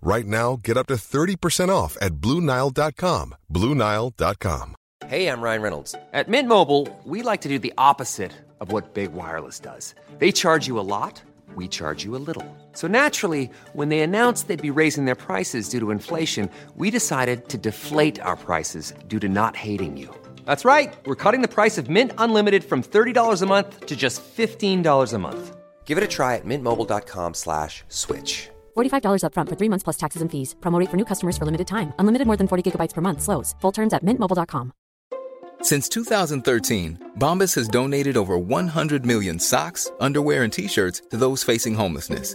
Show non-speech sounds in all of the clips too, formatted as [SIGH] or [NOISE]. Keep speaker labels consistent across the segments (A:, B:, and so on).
A: Right now, get up to 30% off at BlueNile.com. BlueNile.com.
B: Hey, I'm Ryan Reynolds. At Mint Mobile, we like to do the opposite of what Big Wireless does. They charge you a lot, we charge you a little. So naturally, when they announced they'd be raising their prices due to inflation, we decided to deflate our prices due to not hating you. That's right. We're cutting the price of Mint Unlimited from $30 a month to just $15 a month. Give it a try at mintmobile.com slash switch.
C: $45 upfront for three months plus taxes and fees. Promo rate for new customers for limited time. Unlimited more than 40 gigabytes per month. Slows. Full terms at mintmobile.com.
D: Since 2013, Bombas has donated over 100 million socks, underwear, and t shirts to those facing homelessness.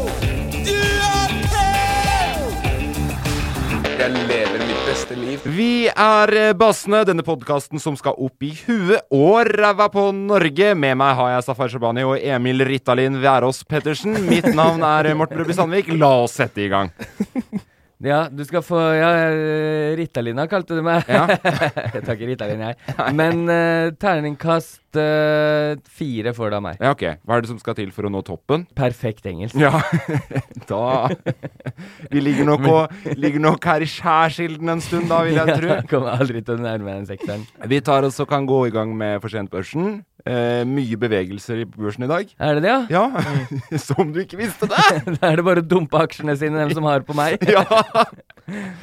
E: Du er på!
F: Jeg lever mitt beste liv.
G: Vi er eh, Bassene, denne podkasten som skal opp i huet og ræva på Norge. Med meg har jeg Safar Shabani og Emil Ritalin Wærås Pettersen. Mitt navn er eh, Morten Rubbe Sandvik. La oss sette i gang.
H: Ja, du skal få ja, eh, Ritalina kalte du meg. [LAUGHS]
G: Ja.
H: jeg tar ikke Ritalin, jeg. Men eh, terningkast eh, fire får du av meg.
G: Ja, ok. Hva er det som skal til for å nå toppen?
H: Perfekt engelsk.
G: Ja, [LAUGHS] da Vi ligger nok, og, ligger nok her i skjærsilden en stund, da, vil
H: [LAUGHS]
G: jeg tro.
H: Jeg kommer aldri til å nærme den sekseren.
G: Vi tar oss og kan gå i gang med For sent-børsen. Eh, mye bevegelser i børsen i dag.
H: Er det det, ja?
G: Ja, [LAUGHS] som du ikke visste det!
H: [LAUGHS] Da er det bare å dumpe aksjene sine, dem som har på meg.
G: Ja.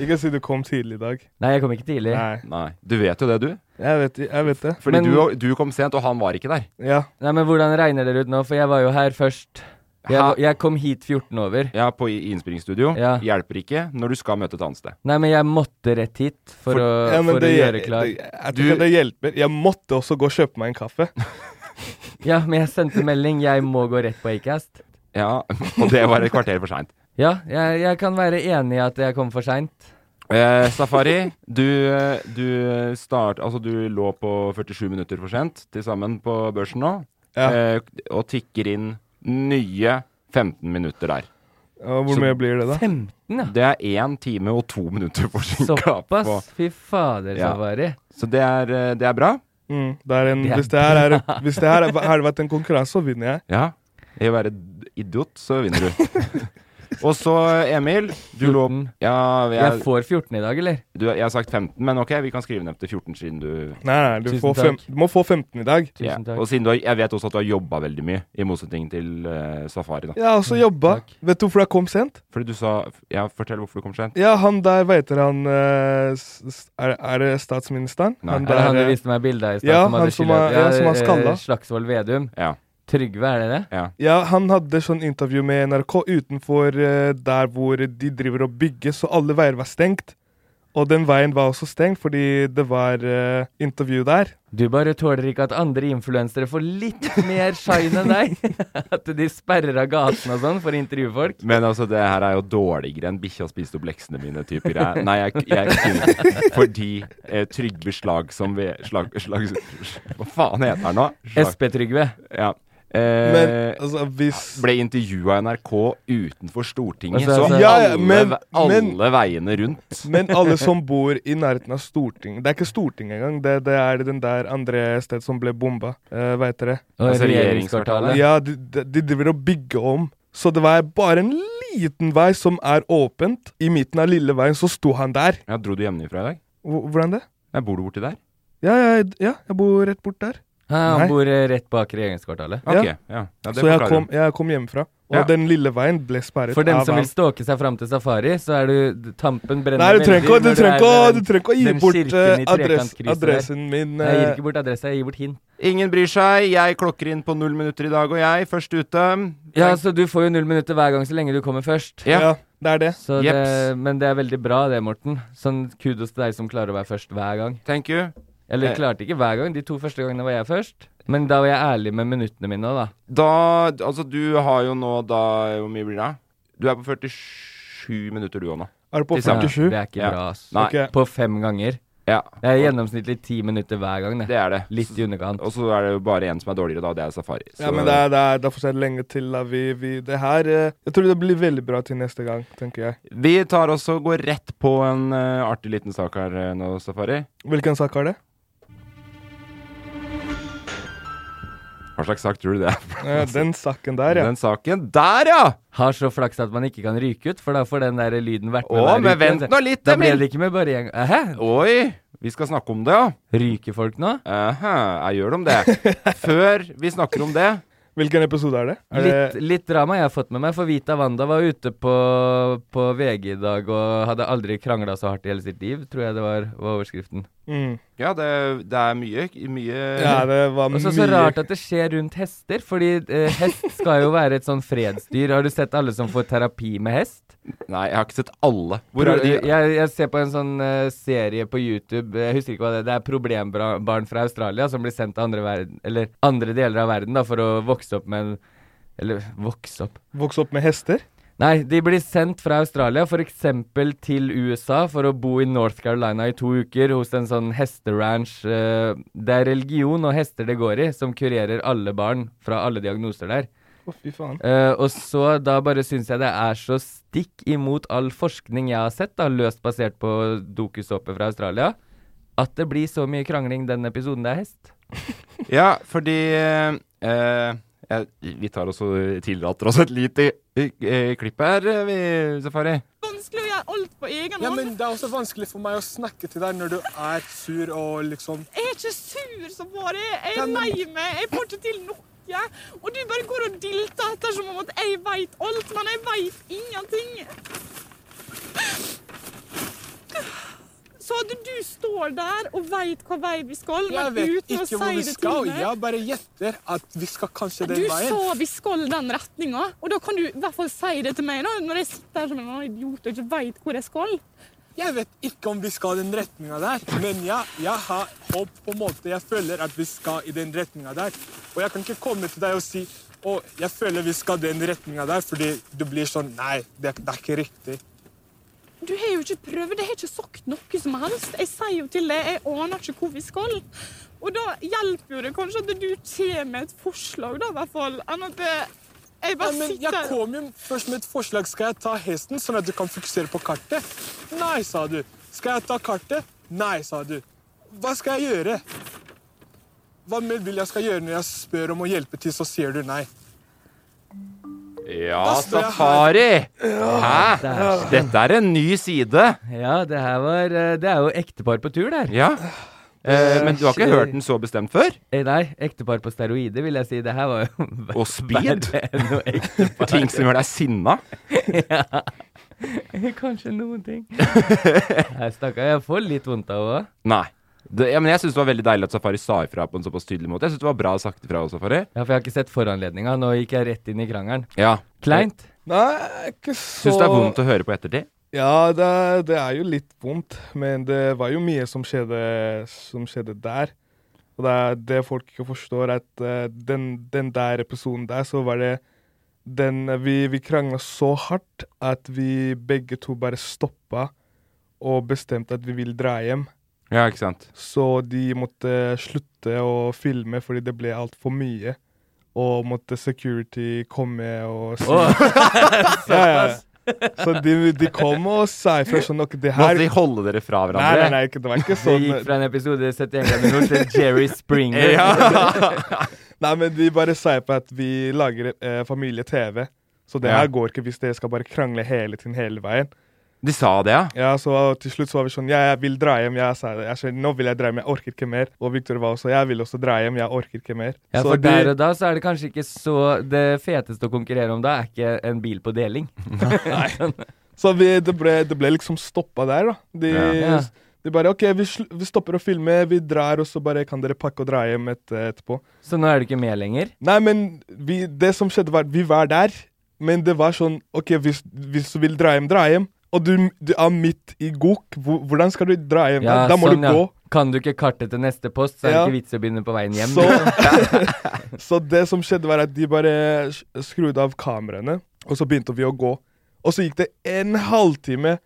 I: Ikke si du kom tidlig i dag.
H: Nei, jeg kom ikke tidlig. Nei,
I: Nei.
G: Nei, du vet jo det, du.
I: Jeg vet, jeg vet det.
G: Fordi
H: Men-
G: du, du kom sent, og han var ikke der.
I: Ja.
H: men hvordan regner dere ut nå? For jeg var jo her først. Jeg,
G: Hæ?
H: var- jeg kom hit 14 over.
G: Ja, på i- innspillingsstudio.
H: Ja.
G: Hjelper ikke når du skal møte et annet sted.
H: Nei, men jeg måtte rett hit for,
G: For-
H: å,
I: ja men
H: for
I: det,
H: å
I: gjør-
H: gjøre klar.
I: Det, jeg tror ikke det hjelper. Jeg måtte også gå og kjøpe meg en kaffe.
H: Ja, men jeg sendte melding. Jeg må gå rett på Acast.
G: Ja, [LAUGHS] Og det var et kvarter for seint.
H: Ja, jeg, jeg kan være enig i at jeg kom for
I: [LAUGHS]
H: seint.
G: Eh, Safari, du, eh, du start... Altså, du lå på 47 minutter for sent til sammen på børsen nå,
I: Ja.
G: eh, og tikker inn nye 15 minutter der.
I: Og hvor
G: Så-
I: mye blir det, da?
H: 15, ja.
G: Det er én time og to minutter forsinka. på-
H: Såpass. Fy fader,
G: Ja.
H: Safari.
G: Så det er, eh, det er bra.
I: Mm, det er en,
H: Det er
I: hvis det her er, hvis det her er, hadde vært en konkurranse, så vinner jeg.
G: Ja. I å være d- idiot, så vinner du.
H: [LAUGHS]
G: og så, Emil, du lå
H: 14.
G: Ja, jeg,
H: Jeg får 14 i dag, eller?
G: Du, jeg har sagt 15, men ok, vi kan skrive ned til 14 siden du
I: Nei, nei, du,
H: Tusen
I: får fem,
H: takk.
I: du må få 15 i dag.
H: Tusen
G: Ja,
H: takk.
G: Og siden du har, jeg vet også at du har jobba veldig mye, i motsetning til eh, Safari, da.
I: Jeg har også
H: Mm,
I: jobba. Vet du hvorfor jeg kom sent?
G: Fordi du sa Ja, fortell hvorfor du kom sent.
I: Ja, han der, hva heter han eh, s- s- er, er det statsministeren?
G: Nei.
H: Er det han du
I: eh,
H: viste meg bilde av i stad?
I: ja,
H: som hadde
I: han som
H: skylda-
I: er- ja, som er
H: eh,
I: skalla.
H: Slagsvold Vedum.
G: Ja.
H: Trygve, er det det?
I: Ja, han hadde sånn intervju med NRK utenfor eh, der hvor de driver og bygger, så alle veier var stengt. Og den veien var også stengt fordi det var eh, intervju der.
H: Du bare tåler ikke at andre influensere får litt
I: [LAUGHS]
H: mer shine enn deg? [LAUGHS] At de sperrer av gatene og sånn for å intervjue folk?
G: Men altså, det her er jo dårligere enn 'bikkja spiste opp leksene mine' type greie. Nei, jeg, jeg kunne Fordi eh, Trygve Slag som ved slag, slag, Hva faen heter han nå? Slag,
H: SP-Trygve.
G: ja.
I: Men
G: Eh,
I: altså, hvis
G: ble intervjua av NRK utenfor Stortinget,
H: Altså,
G: så
H: altså-
I: Ja, ja,
G: alle,
I: men-
G: alle
I: men-
G: veiene rundt.
I: [LAUGHS] Men alle som bor i nærheten av Stortinget Det er ikke Stortinget engang, det, det er den der andre stedet som ble bomba. Uh, Hva heter det?
H: Og
G: Altså,
H: regjeringskvartalet.
G: regjeringskvartalet.
I: Ja, de, de, de driver og bygger om. Så det var bare en liten vei som er åpent. I midten av lille veien så sto han der.
G: Ja, dro du hjemmefra i dag?
I: Hvor- Hvordan det?
G: Nei, bor du borti der?
I: Ja, ja, ja, jeg bor rett bort der.
H: Ah,
I: Nei.
H: Han bor eh, rett bak regjeringskvartalet.
G: Ok,
I: Ja.
G: ja. ja det
I: Så jeg
G: forklarer.
I: kom, jeg kom hjemmefra. Og den lille veien ble sperret
H: For dem
I: av
H: som vil
I: ham.
H: ståke seg fram til safari, så er du Tampen brenner
I: Nei, du trenger ikke å- du
H: veldig når
I: trenger
H: er
I: ikke å-
H: ved den-
I: du trenger ikke å gi
H: den
I: bort,
H: kirken i
I: eh, adress-
H: trekantkrysset der.
I: adressen min,
H: Nei, Jeg gir
I: eh.
H: ikke bort adresse, jeg gir bort hint.
G: Ingen bryr seg. Jeg klokker inn på null minutter i dag, og jeg, først ute
H: Ja, så Altså, du får jo null minutter hver gang så lenge du kommer først.
G: Ja. Ja,
I: det er det.
H: Så
G: Jeps.
H: det. Men det er veldig bra det, Morten. Sånn kudos til deg som klarer å være først hver gang.
G: Thank you.
H: Eller
G: Eh.
H: klarte ikke hver gang. De to første gangene var jeg først. Men da var jeg ærlig med minuttene mine òg, da.
G: Da Altså, du har jo nå da Hvor mye blir det? Du er på 47 minutter, du òg nå.
I: Er du på
G: Til sammen.
I: 47?
H: Det er ikke
G: Ja.
H: bra, ass.
G: Nei.
I: Ok.
H: På fem ganger.
G: Ja,
H: Det er gjennomsnittlig ti minutter hver gang, det.
G: det er det.
H: Litt i underkant.
G: Og så er det jo bare én som er dårligere, da. Det er Safari.
I: Ja, men det er, det er, det er fortsatt lenge til da vi, vi Det her eh, Jeg tror det blir veldig bra til neste gang, tenker jeg.
G: Vi tar også og går rett på en eh, artig liten sak her eh, nå, Safari.
I: Hvilken sak er det?
G: Hva slags sak tror du det er?
I: Eh, Den saken der, ja.
G: Den saken der, ja!
H: Har så flaks at man ikke kan ryke ut, for da får den der lyden vært med.
G: Å,
H: hver
G: men
H: uke. altså.
G: vent nå litt,
H: Da
G: Emil.
H: ble det ikke med bare en gang. Hæ?
G: Oi! Vi skal snakke om det, ja.
H: Ryker folk nå?
G: Aha, jeg gjør de
I: [LAUGHS]
G: det. Før vi snakker om det
I: Hvilken episode er det? Er det
H: Litt, litt drama jeg har fått med meg, for Vita Wanda var ute på, på VG i dag og hadde aldri krangla så hardt i hele sitt liv, tror jeg det var, var overskriften.
I: mm.
G: Ja, det, det er mye, mye
I: Ja, det var
H: Mm. Og
I: mye
H: så så rart at det skjer rundt hester, fordi eh, hest skal jo være et sånn fredsdyr. Har du sett alle som får terapi med hest?
G: Nei, jeg har ikke sett alle. Hvor
H: Pro,
G: er de?
H: jeg, jeg ser på en sånn eh, serie på YouTube, jeg husker ikke hva det er, det er problembarn fra Australia som blir sendt til andre, verden, eller andre deler av verden da, for å vokse opp med en Eller vokse opp
I: Vokse opp med hester?
H: Nei, de blir sendt fra Australia f.eks. til USA for å bo i North Carolina i to uker hos en sånn hesteranch. eh, Det er religion og hester det går i, som kurerer alle barn fra alle diagnoser der.
I: Å, fy faen.
H: Eh, og så da bare syns jeg det er så stikk imot all forskning jeg har sett, da, løst basert på dokusåpe fra Australia, at det blir så mye krangling den episoden det er hest.
G: Ja, fordi eh, eh, Vi tar også tillater oss et lite eh, klipp her, eh, vi, Safari.
E: Vanskelig å gjøre alt på egen
J: Ja,
E: hånd.
J: men Det er også vanskelig for meg å snakke til deg når du er sur og liksom
E: Jeg er ikke sur som bare er. Jeg
J: Ja,
E: er
J: men-
E: lei meg. Jeg får ikke til noe. Og du bare går og dilter etter som om at jeg veit alt, men jeg veit ingenting. Så hadde du står der og veit hva vei vi skal,
J: Jeg
E: men
J: vet
E: uten å
J: ikke
E: si
J: hvor vi
E: det
J: skal.
E: til meg.
J: Jeg bare gjetter at vi skal kanskje den
E: Du
J: veien.
E: sa vi skal den retninga, og da kan du i hvert fall si det til meg da, når jeg sitter her som en annen idiot og ikke veit hvor jeg skal.
J: Jeg vet ikke om vi skal den retninga der, men jeg, jeg har håp på en måte. Jeg føler at vi skal i den retninga der. Og jeg kan ikke komme til deg og si å, jeg føler vi skal den retninga der, fordi du blir sånn Nei, det, det er ikke riktig.
E: Du har jo ikke prøvd, jeg har ikke sagt noe som helst. Jeg sier jo til deg, jeg aner ikke hvor vi skal. Og da hjelper jo det kanskje at du kommer med et forslag, da, i hvert fall. Enn at jeg, jeg
J: Ja,
E: bare
J: men
E: sitter
J: jeg kom jo først med et forslag. Skal jeg ta hesten, sånn at du kan fokusere på kartet? Nei, sa du. Skal jeg ta kartet? Nei, sa du. Hva skal jeg gjøre? Hva mer vil jeg skal gjøre når jeg spør om å hjelpe til, så sier du nei?
G: Ja,
J: Da står jeg her.
G: Safari! Hæ? Dette er en ny side.
H: Ja, det her var eh, Det er jo ektepar på tur der.
G: Ja. Eh, men du har ikke hørt den så bestemt
I: [LAUGHS]
G: før?
H: Eh, Nei, ektepar på steroider, vil jeg si. Det her var jo [LAUGHS]
G: Og speed?
H: verre enn noe ektepar.
G: Ting som gjør deg sinna?
H: [LAUGHS] Kanskje noen
G: [LAUGHS]
H: ting. Nei, Stakkar, jeg får litt vondt av henne.
G: Nei. Det, ja, men jeg syns det var veldig deilig at Safari sa ifra på en såpass tydelig måte. Jeg synes det var bra sagt ifra også, Safari.
H: Ja, for jeg har ikke sett foranledninga. Nå gikk jeg rett inn i krangelen.
G: Ja.
H: Kleint.
I: Nei, ikke så
G: Syns det er vondt å høre på ettertid?
I: Ja, det er, det er jo litt vondt, men det var jo mye som skjedde, som skjedde der. Og det, er det folk ikke forstår, at eh, den, den der episoden der, så var det den Vi, vi krangla så hardt at vi begge to bare stoppa og bestemte at vi vil dra hjem.
G: Ja, ikke sant.
I: Så de måtte slutte å filme fordi det ble altfor mye. Og måtte security komme og si [LAUGHS] ja, ja, ja. Så de, de kom og sa ifra sånn ok, det her
G: Måtte de holde dere fra
I: Nei,
G: hverandre?
I: nei, nei, ikke, det var ikke
H: Det
I: sånn.
G: eh,
H: gikk fra en episode 71 grader nord til Jerry
G: [LAUGHS]
H: Springer.
I: Nei, men de bare sa på at vi lager eh, familie-TV, så det
G: Ja.
I: her går ikke hvis dere skal bare krangle hele tiden hele veien.
G: De sa det, ja?
I: Ja, så til slutt så var vi sånn Ja, jeg vil dra hjem. Jeg sa det. Jeg sa, nå vil jeg dra hjem, jeg orker ikke mer. Og Victor var også Jeg vil også dra hjem, jeg orker ikke mer.
H: Ja,
I: Så
H: for
I: de-
H: der og da så er det kanskje ikke så Det feteste å konkurrere om da, er ikke en bil på deling. Nei.
I: Så vi, det, ble, det ble liksom stoppa der, da. De,
H: Ja.
I: de bare OK, vi, sl vi stopper å filme, vi drar, og så bare kan dere pakke og dra hjem et, etterpå.
H: Så nå er du ikke med lenger?
I: Nei, men vi, det som skjedde, var vi var der, men det var sånn OK, hvis, hvis du vil dra hjem, dra hjem. Og du, du er midt i gok. Hvor- Hvordan skal du dra hjem? da? da må du gå.
H: sånn, Kan du ikke karte til neste post, så er det
I: Ja.
H: ikke vits i å begynne på veien hjem.
I: Så, så det som skjedde, var at de bare s- skrudde av kameraene, og så begynte vi å gå. Og så gikk det en halvtime,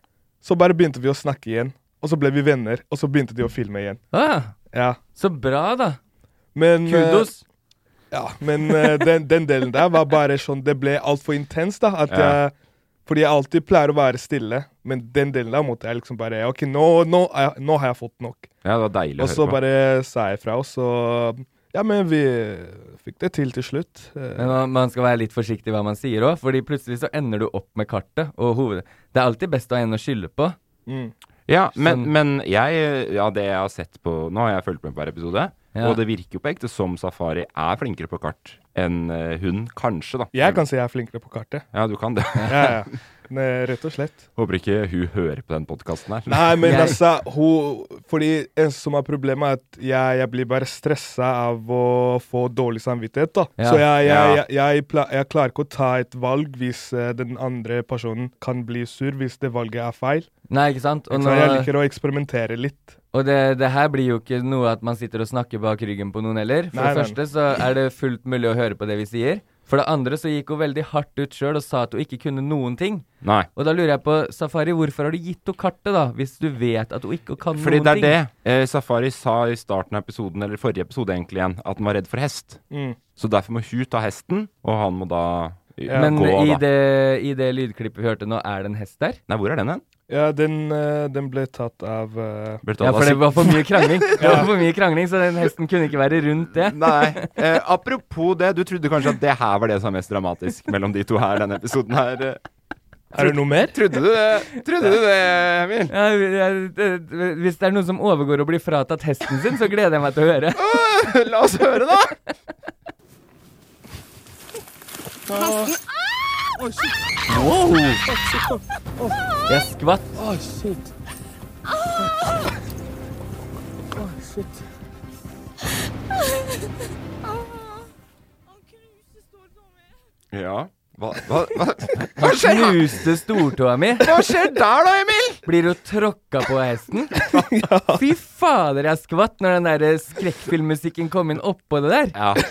I: så bare begynte vi å snakke igjen. Og så ble vi venner, og så begynte de å filme igjen.
H: [LAUGHS] Ah,
I: Ja.
H: Så bra, da.
I: Men, eh,
H: Kudos.
I: ja, men eh, den, den delen der var bare sånn Det ble altfor intens, da. At
G: Ja.
I: jeg, fordi jeg alltid pleier å være stille, men den delen der måtte jeg liksom bare OK, nå, nå, er jeg- nå har jeg fått nok.
G: Ja, det var deilig å
I: Og så
G: høre på.
I: bare sa jeg fra, og så Ja, men vi fikk det til til slutt. Eh,
H: Men man, man skal være litt forsiktig hva man sier òg, fordi plutselig så ender du opp med kartet og hovedet. Det er alltid best å ha en å skylde på.
I: Mm.
G: Ja, men,
H: Sånn.
G: men jeg Ja, det jeg har sett på Nå har jeg fulgt med på hver episode,
H: Ja.
G: og det virker jo på ekte som Safari er flinkere på kart enn eh, hun, kanskje, da.
I: Jeg kan si jeg er flinkere på kartet.
G: Ja, du kan det. [LAUGHS]
I: Ja, ja. Ne, rett og slett.
G: Håper ikke hun hører på den podkasten her.
I: Nei, men altså hun, Fordi eneste som er problemet, er at jeg, jeg blir bare stressa av å få dårlig samvittighet. da
G: Ja.
I: Så jeg, jeg,
G: Ja.
I: jeg, jeg, pla- jeg klarer ikke å ta et valg hvis eh, den andre personen kan bli sur hvis det valget er feil.
H: Nei, ikke sant? Og,
I: Så
H: nå,
I: jeg liker å eksperimentere litt.
H: og det, det her blir jo ikke noe at man sitter og snakker bak ryggen på noen heller. For
I: Nei,
H: det
I: nei,
H: første så er det fullt mulig å høre på det vi sier. For det andre så gikk hun veldig hardt ut sjøl og sa at hun ikke kunne noen ting.
G: Nei.
H: Og da lurer jeg på, Safari, hvorfor har du gitt henne kartet, da? Hvis du vet at hun ikke kan
G: Fordi det
H: noen
G: er
H: ting?
G: det. Eh, Safari sa i starten av episoden, eller forrige episode egentlig igjen, at han var redd for hest.
I: Mm.
G: Så derfor må hun ta hesten, og han må da eh,
I: Ja.
H: Men
G: gå,
H: i
G: da.
H: det, i det lydklippet vi hørte nå, er det en hest der?
G: Nei, hvor er den hen?
I: Ja, den, eh, den ble tatt av eh,
G: Ble tatt
H: Ja,
G: av
H: for det
G: sik-
H: var for mye krangling. Det var for mye krangling, Så den hesten kunne ikke være rundt det.
G: [LAUGHS] Nei. Eh, apropos det, du trodde kanskje at det her var det som var mest dramatisk mellom de to her, denne episoden her. eh.
I: Er det noe mer?
G: Trodde du det, trodde du det Emil?
H: Ja, jeg- jeg- hvis det er noen som overgår å bli fratatt hesten sin, så gleder jeg meg til å høre.
G: La oss høre, da!
E: Hesten
J: Oi, shit.
H: Wow!
J: Å, shit, å. Å,
H: Jeg skvatt.
J: å, shit. Å, shit.
G: Ja. Hva, hva, hva?
H: Han knuste stortåa mi.
G: Hva skjer der da, Emil?
H: Blir hun tråkka på av hesten? Fy fader, jeg skvatt når den der skrekkfilmmusikken kom inn oppå det der.
G: Ja. [COUGHS]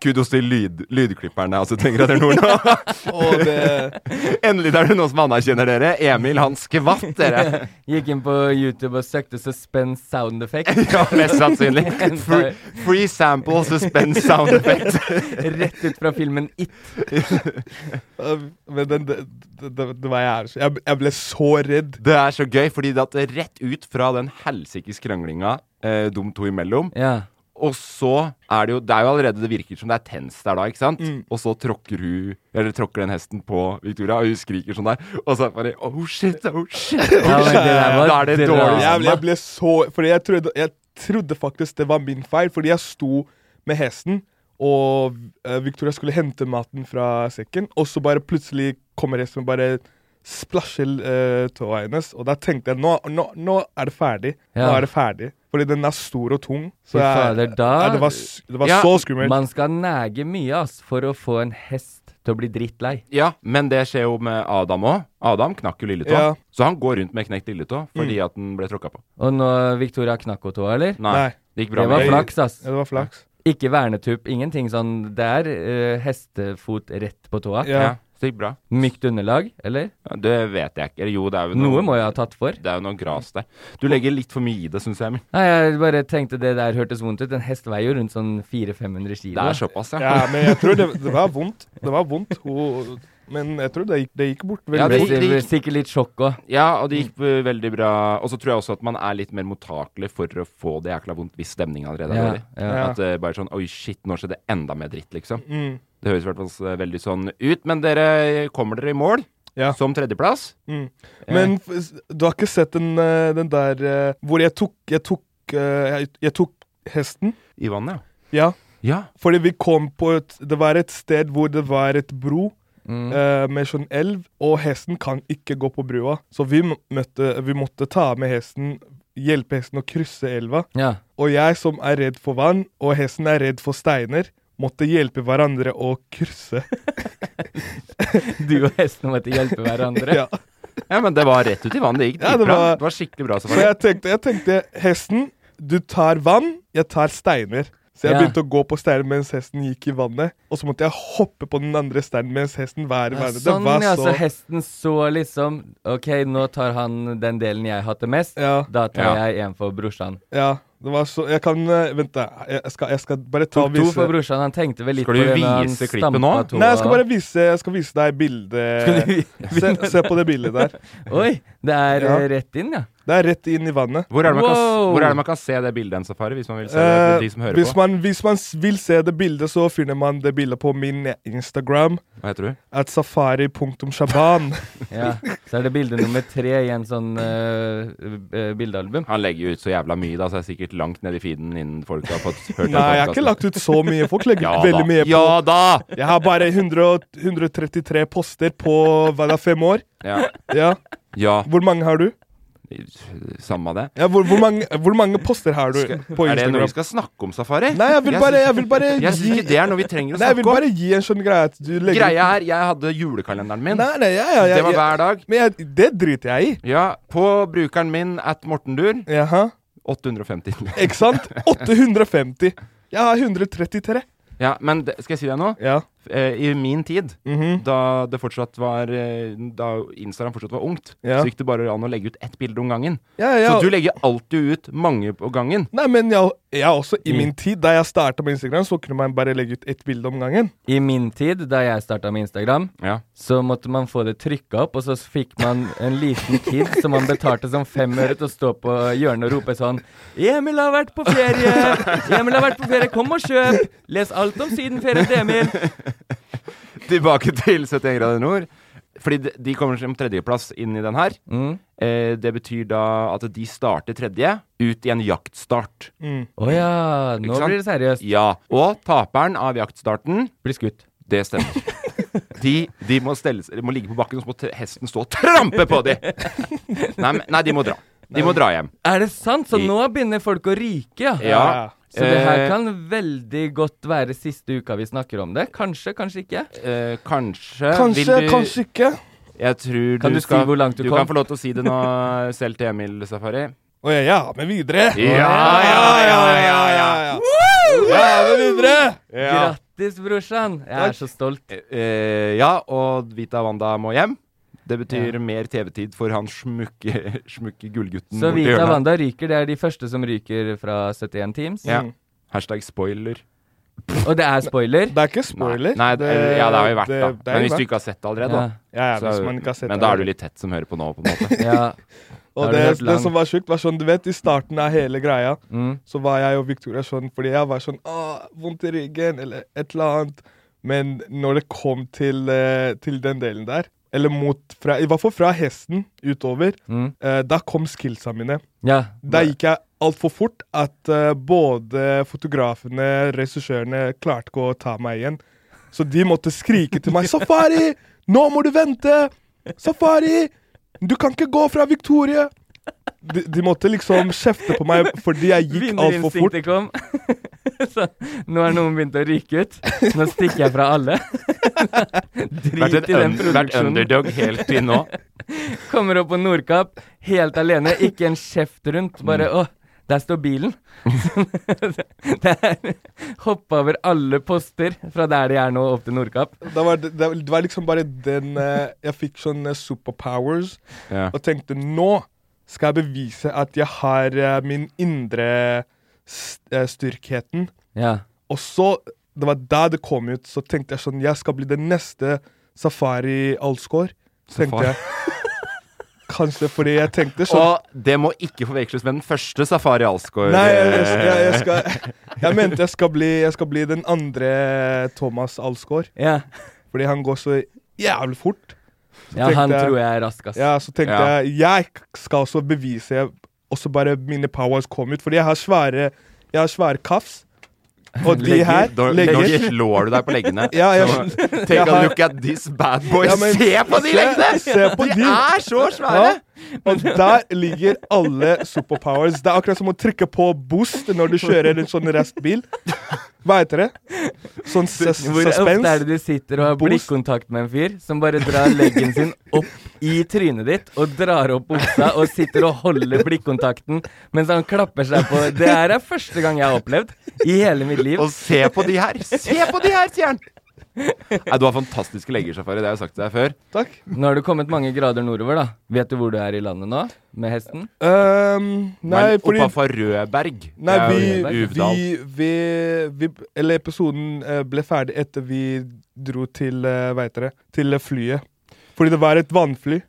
G: Kudos til lyd, lydklipperne, altså, tenker jeg det er noen nå.
I: Og det
G: [LAUGHS] Endelig er det noen som anerkjenner dere. Emil, han skvatt, dere. [LAUGHS]
H: Gikk inn på YouTube og søkte 'suspense sound effect'.
G: [LAUGHS] Ja, mest sannsynlig. Free, free sample suspense sound effect.
H: Rett ut fra filmen 'It'.
I: eh, Men den, det, det, det, det var jeg, jeg Jeg ble så redd.
G: Det er så gøy, fordi det at rett ut fra den helsikes kranglinga eh, de to imellom,
H: Ja.
G: og så er det jo Det er jo allerede det virker som det er tenst der da, ikke sant?
H: Mm.
G: Og så tråkker hun Eller tråkker den hesten på Victoria, og hun skriker sånn der, og så er det bare Oh shit, oh shit.
H: [LAUGHS] Ja, men det der var
G: Da er det dårlig.
H: drama.
I: Jeg, ble- jeg ble så Fordi jeg trodde, jeg trodde faktisk det var min feil, fordi jeg sto med hesten, og eh, Victoria skulle hente maten fra sekken, og så bare plutselig kommer hesten og bare splasjer eh, tåa hennes, og da tenkte jeg nå, nå, nå er det ferdig. Nå
H: Ja.
I: er det ferdig. Fordi den er stor og tung.
H: Fy
I: Så jeg,
H: fader, da-
I: ja, det var, s- det var
G: Ja,
I: så skummelt.
H: Man skal nege mye ass, for å få en hest til å bli drittlei.
G: Ja, men det skjer jo med Adam òg. Adam knakk jo lilletå.
I: Ja.
G: Så han går rundt med knekt lilletå fordi at den ble tråkka på.
H: Og nå Victoria knakk henne tåa, eller?
G: Nei.
I: Nei.
G: Det gikk bra
H: Det var
G: med
I: Nei.
H: flaks, ass.
I: Ja, det var flaks.
H: Ikke vernetupp, ingenting sånn. Det er eh, hestefot rett på tåa.
I: Ja.
G: Ja, så det gikk bra.
H: Mykt underlag, eller?
G: Ja, Det vet jeg ikke. Eller jo, det er jo
H: Noe må jeg ha tatt for.
G: Det er jo noe gras der. Du legger litt for mye i det, syns jeg. Emil.
H: Nei, jeg bare tenkte det der hørtes vondt ut. En hest veier jo rundt sånn 400-500 kilo.
G: Det er såpass, ja.
I: Ja, men jeg tror det, det var vondt. Det var vondt. Hun, men jeg tror det gikk, det gikk bort veldig
G: Ja,
H: Det
G: det
I: fort.
G: gikk-
H: blir Sikkert litt sjokk òg.
G: Ja, og
I: Mm.
G: det gikk eh, veldig bra. Og så tror jeg også at man er litt mer mottakelig for å få det jækla vondt hvis stemninga allerede er
H: Ja,
G: dårlig.
H: ja.
G: At det bare er sånn Oi, shit, nå skjedde enda mer dritt, liksom.
I: Mm.
G: Det høres i hvert fall s- veldig sånn ut. Men dere kommer dere i mål? som tredjeplass.
I: Mm. Men f- s- du har ikke sett den, eh, den der eh, hvor jeg tok, jeg, tok, eh, jeg, jeg tok hesten?
G: I vannet,
I: ja.
G: Ja.
I: Fordi vi kom på et Det var et sted hvor det var et bro.
G: Mm.
I: eh, med sånn elv, og hesten kan ikke gå på brua. Så vi, m- møtte, vi måtte ta med hesten, hjelpe hesten å krysse elva.
H: Ja.
I: Og jeg som er redd for vann, og hesten er redd for steiner, måtte hjelpe hverandre å
H: [LAUGHS]
I: krysse.
H: Du og hesten måtte hjelpe
I: [LAUGHS]
H: hverandre.
I: ja.
G: ja, men det var rett ut i vannet. Det gikk
I: Ja, det
G: dritbra.
I: var-
G: det var skikkelig bra.
I: Så jeg tenkte, jeg tenkte Hesten, du tar vann, jeg tar steiner. Så jeg
G: Ja.
I: begynte å gå på steinen mens hesten gikk i vannet. Og så måtte jeg hoppe på den andre steinen mens hesten var i
H: Ja,
I: vannet.
H: sånn,
I: det var
H: ja. Så
I: så
H: hesten så liksom OK, nå tar han den delen jeg hater mest. Da tar
I: Ja.
H: jeg en for brorsan.
I: Ja, det var så Jeg kan eh, Vent, da. Jeg skal, jeg skal bare ta
H: Tok
I: og
H: to
I: vise
H: for brorsan. Han tenkte vel litt
I: Skal
H: på
I: du
H: det når han
I: vise klippet
H: stampa
I: nå?
H: tåa.
I: Nei, jeg skal bare vise, jeg skal vise
H: Skal
I: deg
H: du vi-
I: bildet. Se, se på det bildet der.
H: [LAUGHS] Oi, det er
I: Ja.
H: eh, rett inn, ja.
I: Det er rett inn i vannet.
G: Hvor er, det man kan,
H: Wow!
G: hvor er det man kan se det bildet en safari, hvis man vil se det?
I: Eh,
G: for De som hører
I: hvis,
G: på.
I: man, hvis man s- vil se det bildet, så finner man det bildet på min Instagram.
G: Hva heter du?
I: At
G: [LAUGHS]
I: safari.shaban.
H: ja. Så er det bilde nummer tre i en sånn eh, eh, bildealbum.
G: Han legger jo ut så jævla mye, da, så jeg er sikkert langt ned i feeden innen folk har fått hørt den
I: Nei, jeg har
G: podcasten.
I: ikke lagt ut så mye. Folk legger
G: Ja
I: ut
G: da.
I: veldig mye på
G: Ja da!
I: Jeg har bare 100, og- 133 poster på hva da, fem år.
G: Ja.
I: Ja.
G: Ja.
I: Hvor mange har du?
G: Samme det.
I: Ja, hvor, hvor, mange, hvor mange poster har du på Instagram?
G: er det når vi skal snakke om safari?
I: Nei, jeg vil
G: Jeg
I: bare
G: synes-
I: Jeg vil bare
G: Jeg synes ikke det er noe vi trenger å
I: Nei, jeg vil
G: snakke om.
I: bare gi en sånn greie at du legger
G: Greia er, jeg hadde julekalenderen min.
I: Nei, nei, ja, ja, ja,
G: det var
I: ja.
G: hver dag.
I: Men det driter jeg i.
G: Ja, På brukeren min at Mortendur.
I: [LAUGHS]
G: 850.
I: Ikke sant? 850. Jeg har 133.
G: Ja, men det, skal jeg si deg noe?
I: Ja.
G: Eh, I min tid,
I: Mm. Mhm.
G: da det fortsatt var eh, Da Instagram fortsatt var ungt,
I: Ja.
G: så gikk det bare an å legge ut ett bilde om gangen.
I: Ja,
G: Så
I: ja.
G: du legger alltid ut mange på gangen.
I: Nei, men jeg, jeg også,
G: Mm.
I: i min tid, da jeg starta med Instagram, så kunne man bare legge ut ett bilde om gangen.
H: I min tid, da jeg starta med Instagram, så måtte man få det trykka opp, og så fikk man en liten kid som man betalte som fem øre til å stå på hjørnet og rope sånn 'Emil har vært på ferie! Emil har vært på ferie! Kom og kjøp! Les alt om sydenferien til Emil!'
G: Tilbake til 71 grader nord. Fordi de- de kommer som tredjeplass inn i den her.
H: Mm.
G: Eh, det betyr da at de starter tredje ut i en jaktstart.
H: Å ja, nå blir det seriøst.
G: Ja. Og taperen av jaktstarten
H: Blir skutt.
G: Det stemmer.
H: [LAUGHS]
G: De, de må, stelle, seg- de må ligge på bakken, og så må t- hesten stå og trampe på dem! Nei, men- nei, de må dra. De må dra hjem.
H: Er det sant? Så
G: I-
H: nå begynner folk å ryke, ja.
G: Ja.
H: Så det her
G: Eh,
H: kan veldig godt være siste uka vi snakker om det. Kanskje, kanskje ikke.
G: Eh, kanskje
I: Kanskje,
G: vil du,
I: kanskje ikke.
G: Jeg tror
H: Kan du si
G: skal,
H: hvor langt du
G: du
H: kom?
G: kan få lov til å si det nå selv til Emil Safari.
I: Å ja, ja, men videre.
G: Ja, ja, ja, ja, ja.
I: Ja, men videre. Ja.
H: Grattis, brorsan. Jeg er så stolt.
G: Eh, ja, og Vita Wanda må hjem. Det betyr mer TV-tid for han smukke, [LAUGHS] smukke gullgutten.
H: Så
G: borti
H: Vita
G: hjørnet.
H: Wanda ryker. Det er de første som ryker fra 71 Teams.
G: Ja. Hashtag spoiler.
H: Og det er spoiler.
I: Det er ikke spoiler.
G: Nei, det, ja, det har jo vært, da.
I: det- det er
G: men hvis
I: jo
G: du
I: verdt.
G: ikke har sett det allerede,
H: Ja.
G: da.
I: Ja, ja,
G: så-
I: hvis man ikke har sett
G: men
I: det
G: da er du
I: allerede.
G: litt tett som hører på nå, på en måte.
H: Ja. Da
I: Og
H: har du
I: det,
H: hørt
I: det
H: lang.
I: som var sjukt, var sånn, du vet, i starten av hele greia,
H: Mm.
I: så var jeg og Victoria sånn, fordi jeg var sånn, ah, vondt i ryggen, eller et eller annet. Men når det kom til, eh, til den delen der, eller mot, fra, i hvert fall fra hesten utover,
H: Mm.
I: eh, da kom skillsa mine.
H: Ja.
I: Da gikk jeg altfor fort at eh, både fotografene, regissørene klarte ikke å ta meg igjen. Så de måtte skrike til meg 'Safari! Nå må du vente! Safari! Du kan ikke gå fra Victoria!' De, de måtte liksom kjefte på meg fordi jeg gikk altfor fort.
H: Vinnerinstinktet kom. [LAUGHS] så nå har noen begynt å ryke ut. Nå stikker jeg fra alle. Drit i
G: Vært, en
H: den
G: un vært
H: produksjonen.
G: underdog helt til nå.
I: [LAUGHS]
H: Kommer opp på Nordkapp helt alene, ikke en kjeft rundt. Bare å, der står bilen. [LAUGHS] det er Hoppe over alle poster fra der de er nå, opp til Nordkapp.
I: Det var, det, det var liksom bare den eh, Jeg fikk sånne superpowers
G: Ja.
I: og tenkte nå skal jeg bevise at jeg har eh, min indre st eh, styrkheten.
H: Ja.
I: Og så, det var da det kom ut, så tenkte jeg sånn Jeg skal bli den neste Safari Alsgaard. Tenkte
G: Safari.
I: jeg. Kanskje fordi jeg tenkte sånn.
G: Og det må ikke forveksles med den første Safari Alsgaard.
I: Nei, jeg, jeg, jeg, jeg skal Jeg mente jeg skal bli, jeg skal bli den andre Thomas Alsgaard.
H: ja.
I: Fordi han går så jævlig fort.
H: Ja,
I: tenkte
H: han tror jeg er rask, ass.
I: Ja, så tenkte
H: Ja.
I: jeg jeg skal også bevise jeg, også bare mine powers kom ut. Fordi jeg har svære, jeg har svære kafs. Og de
G: Legger.
I: her
G: Når- når de slår du deg på leggene,
I: ja, jeg,
G: så take
I: jeg
G: a
I: har-
G: look at this bad boy.
I: men
G: Se på de
I: se-
G: leggene!
I: [LAUGHS] se på
G: De
I: de.
G: er så svære!
I: Ja, og der ligger alle superpowers. Det er akkurat som å trykke på boost når du kjører en sånn restbil. Hva heter det? Sånn sus
H: Hvor
I: suspens.
H: ofte er det du sitter og har blikkontakt med en fyr som bare drar leggen sin opp i trynet ditt og drar opp buksa og sitter og holder blikkontakten mens han klapper seg på Det her er første gang jeg har opplevd i hele mitt liv.
G: Og se på de her! Se på de her, sier han! Nei, du har fantastiske legger, Safari. Det har jeg sagt til deg før.
I: Takk.
H: Nå har du kommet mange grader nordover, da. Vet du hvor du er i landet nå med hesten?
I: Ehm, nei,
H: Men
I: fordi
H: oppafor
G: Rødberg.
I: Nei,
H: Det er jo
I: vi,
H: Uvdal.
I: vi, vi, vi Eller episoden eh, ble ferdig etter vi dro til eh, Hva heter det? Til eh, flyet. Fordi det var et vannfly.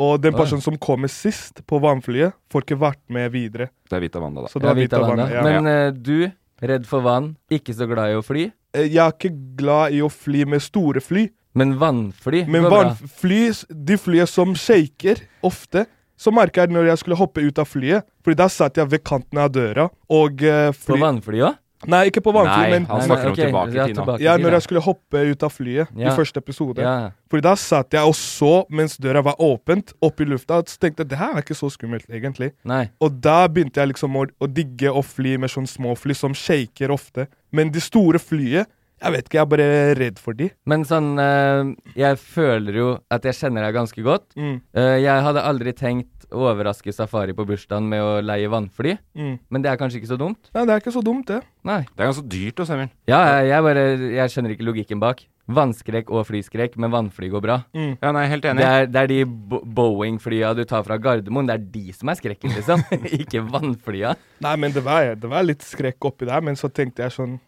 I: Og den
G: Å, ja.
I: personen som kommer sist på vannflyet, får ikke vært med videre.
G: Det er Vita Wanda, da.
I: Så det var
H: Ja, Vita
I: Vita Wanda,
H: Wanda.
I: ja.
H: Men eh, du, redd for vann, ikke så glad i å fly?
I: Eh, Jeg er ikke glad i å fly med store fly.
H: Men vannfly
I: Men
H: går bra.
I: vannfly, de flyene som shaker ofte Så merka jeg når jeg skulle hoppe ut av flyet, Fordi da satt jeg ved kanten av døra. Og eh, fly...
H: På vannfly òg?
I: Nei, ikke på vannfly,
H: Nei,
I: men
H: han Nei, snakker nei, om ok, tilbake ja, i tid nå. tilbake i
I: Ja,
H: tid,
I: når
H: ja.
I: jeg skulle hoppe ut av flyet
H: Ja.
I: i første episode.
H: Ja.
I: Fordi da satt jeg og så mens døra var åpent, opp i lufta, og tenkte det her er ikke så skummelt, egentlig.
H: Nei.
I: Og da begynte jeg liksom å, å digge å fly med sånne små fly som shaker ofte. Men de store flyet Jeg vet ikke, jeg er bare redd for de.
H: Men sånn eh, Jeg føler jo at jeg kjenner deg ganske godt.
I: Mm.
H: Eh, jeg hadde aldri tenkt å overraske Safari på bursdagen med å leie vannfly.
I: Mm.
H: Men det er kanskje ikke så dumt?
I: Nei, det er ikke så dumt, det.
H: Nei.
G: Det er ganske dyrt også, Emil.
H: Ja, jeg, jeg bare Jeg skjønner ikke logikken bak. Vannskrekk og flyskrekk, men vannfly går bra.
I: Mm.
G: Ja, nei, helt enig.
H: Det er, det er de Bo- Boeing-flya du tar fra Gardermoen, det er de som er skrekken,
I: [LAUGHS]
H: liksom. ikke vannflya.
I: Nei, men det var, det var litt skrekk oppi der, men så tenkte jeg sånn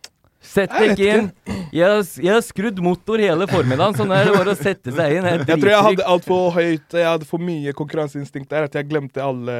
H: Sett
I: Jeg
H: deg
I: vet
H: ikke inn! Jeg, har s- jeg har skrudd motor hele formiddagen, sånn er det bare å sette seg inn.
I: Jeg tror jeg hadde altfor høyt Jeg hadde for mye konkurranseinstinkt der, at jeg glemte alle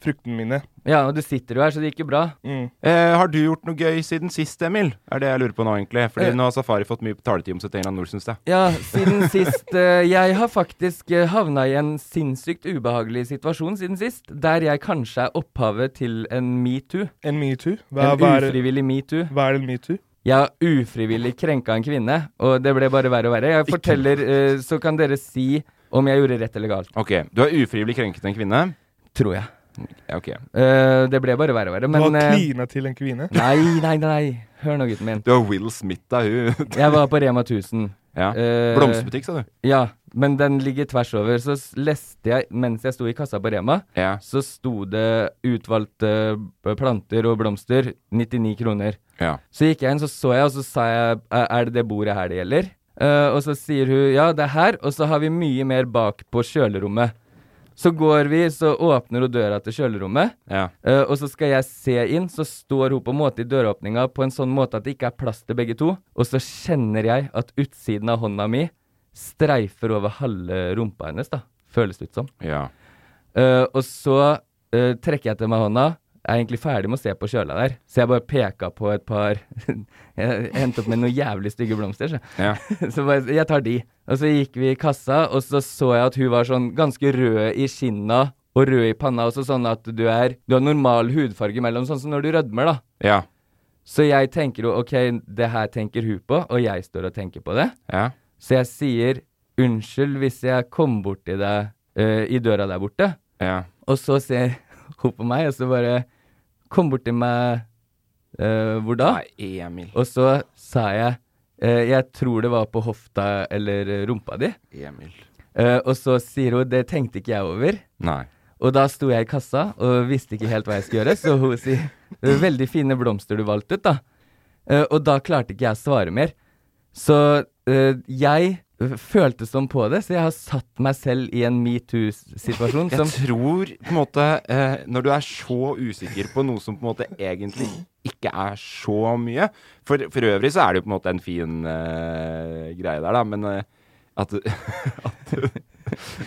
I: fruktene mine. Mm.
H: Ja, og du sitter jo her, så det gikk jo bra.
G: Eh, har du gjort noe gøy siden sist, Emil? Er det jeg lurer på nå, egentlig. Fordi
H: Eh.
G: nå har Safari fått mye taletid om sitt eget nord, syns jeg.
H: Ja, siden sist eh, Jeg har faktisk eh, havna i en sinnssykt ubehagelig situasjon siden sist, der jeg kanskje er opphavet til en metoo.
I: En metoo? Hva-
H: En
I: hva er-
H: ufrivillig metoo.
I: Hva er en metoo?
H: Jeg har ufrivillig krenka en kvinne, og det ble bare verre og verre. Jeg forteller, eh, så kan dere si om jeg gjorde rett eller galt.
G: Ok, Du har ufrivillig krenket en kvinne?
H: Tror jeg.
G: Ja, ok.
H: Eh, det ble bare verre og verre,
I: Du har
H: men eh,
I: klina til en kvinne?
H: [LAUGHS] Nei, nei, nei. Hør nå, gutten min.
G: Du har Will Smith, da, hun.
H: Jeg var på Rema 1000.
G: Ja.
H: Eh,
G: Blomsterbutikk, sa du?
H: Ja, men den ligger tvers over. Så s- leste jeg, mens jeg sto i kassa på Rema,
G: Ja.
H: så sto det utvalgte b- planter og blomster 99 kroner.
G: Ja.
H: Så gikk jeg inn, så så jeg, og så sa jeg "Er- er det det bordet her det gjelder? Eh, og så sier hun ja, det er her, og så har vi mye mer bak på kjølerommet. Så går vi, så åpner hun døra til kjølerommet,
G: Ja.
H: eh, og så skal jeg se inn, så står hun på en måte i døråpninga på en sånn måte at det ikke er plass til begge to, og så kjenner jeg at utsiden av hånda mi streifer over halve rumpa hennes, da, føles det ut som.
G: ja.
H: Eh, og så eh, trekker jeg til meg hånda. Jeg er egentlig ferdig med å se på kjøla der, så jeg bare peka på et par [LAUGHS] Jeg endte opp med noen jævlig stygge blomster, så.
G: Ja.
H: [LAUGHS] så bare, jeg tar de. Og så gikk vi i kassa, og så så jeg at hun var sånn ganske rød i kinna og rød i panna, også sånn at du er Du har normal hudfarge mellom, sånn som når du rødmer, da.
G: Ja.
H: Så jeg tenker jo OK, det her tenker hun på, og jeg står og tenker på det.
G: Ja.
H: Så jeg sier unnskyld hvis jeg kom borti deg eh, i døra der borte.
G: Ja.
H: Og så ser [LAUGHS] hun på meg, og så bare Kom borti meg eh, Hvor da?
G: Nei, Emil.
H: Og så sa jeg eh, Jeg tror det var på hofta eller eh, rumpa di.
G: Emil.
H: Eh, og så sier hun Det tenkte ikke jeg over.
G: Nei.
H: Og da sto jeg i kassa og visste ikke helt hva jeg skulle gjøre, så hun sier Veldig fine blomster du valgte ut, da. Eh, og da klarte ikke jeg å svare mer. Så eh, jeg følte som på det, så jeg har satt meg selv i en metoo-situasjon
G: Jeg
H: som
G: tror på en måte eh, Når du er så usikker på noe som på en måte egentlig ikke er så mye For, for øvrig så er det jo på en måte en fin eh, greie der, da, men eh, [LAUGHS] at, at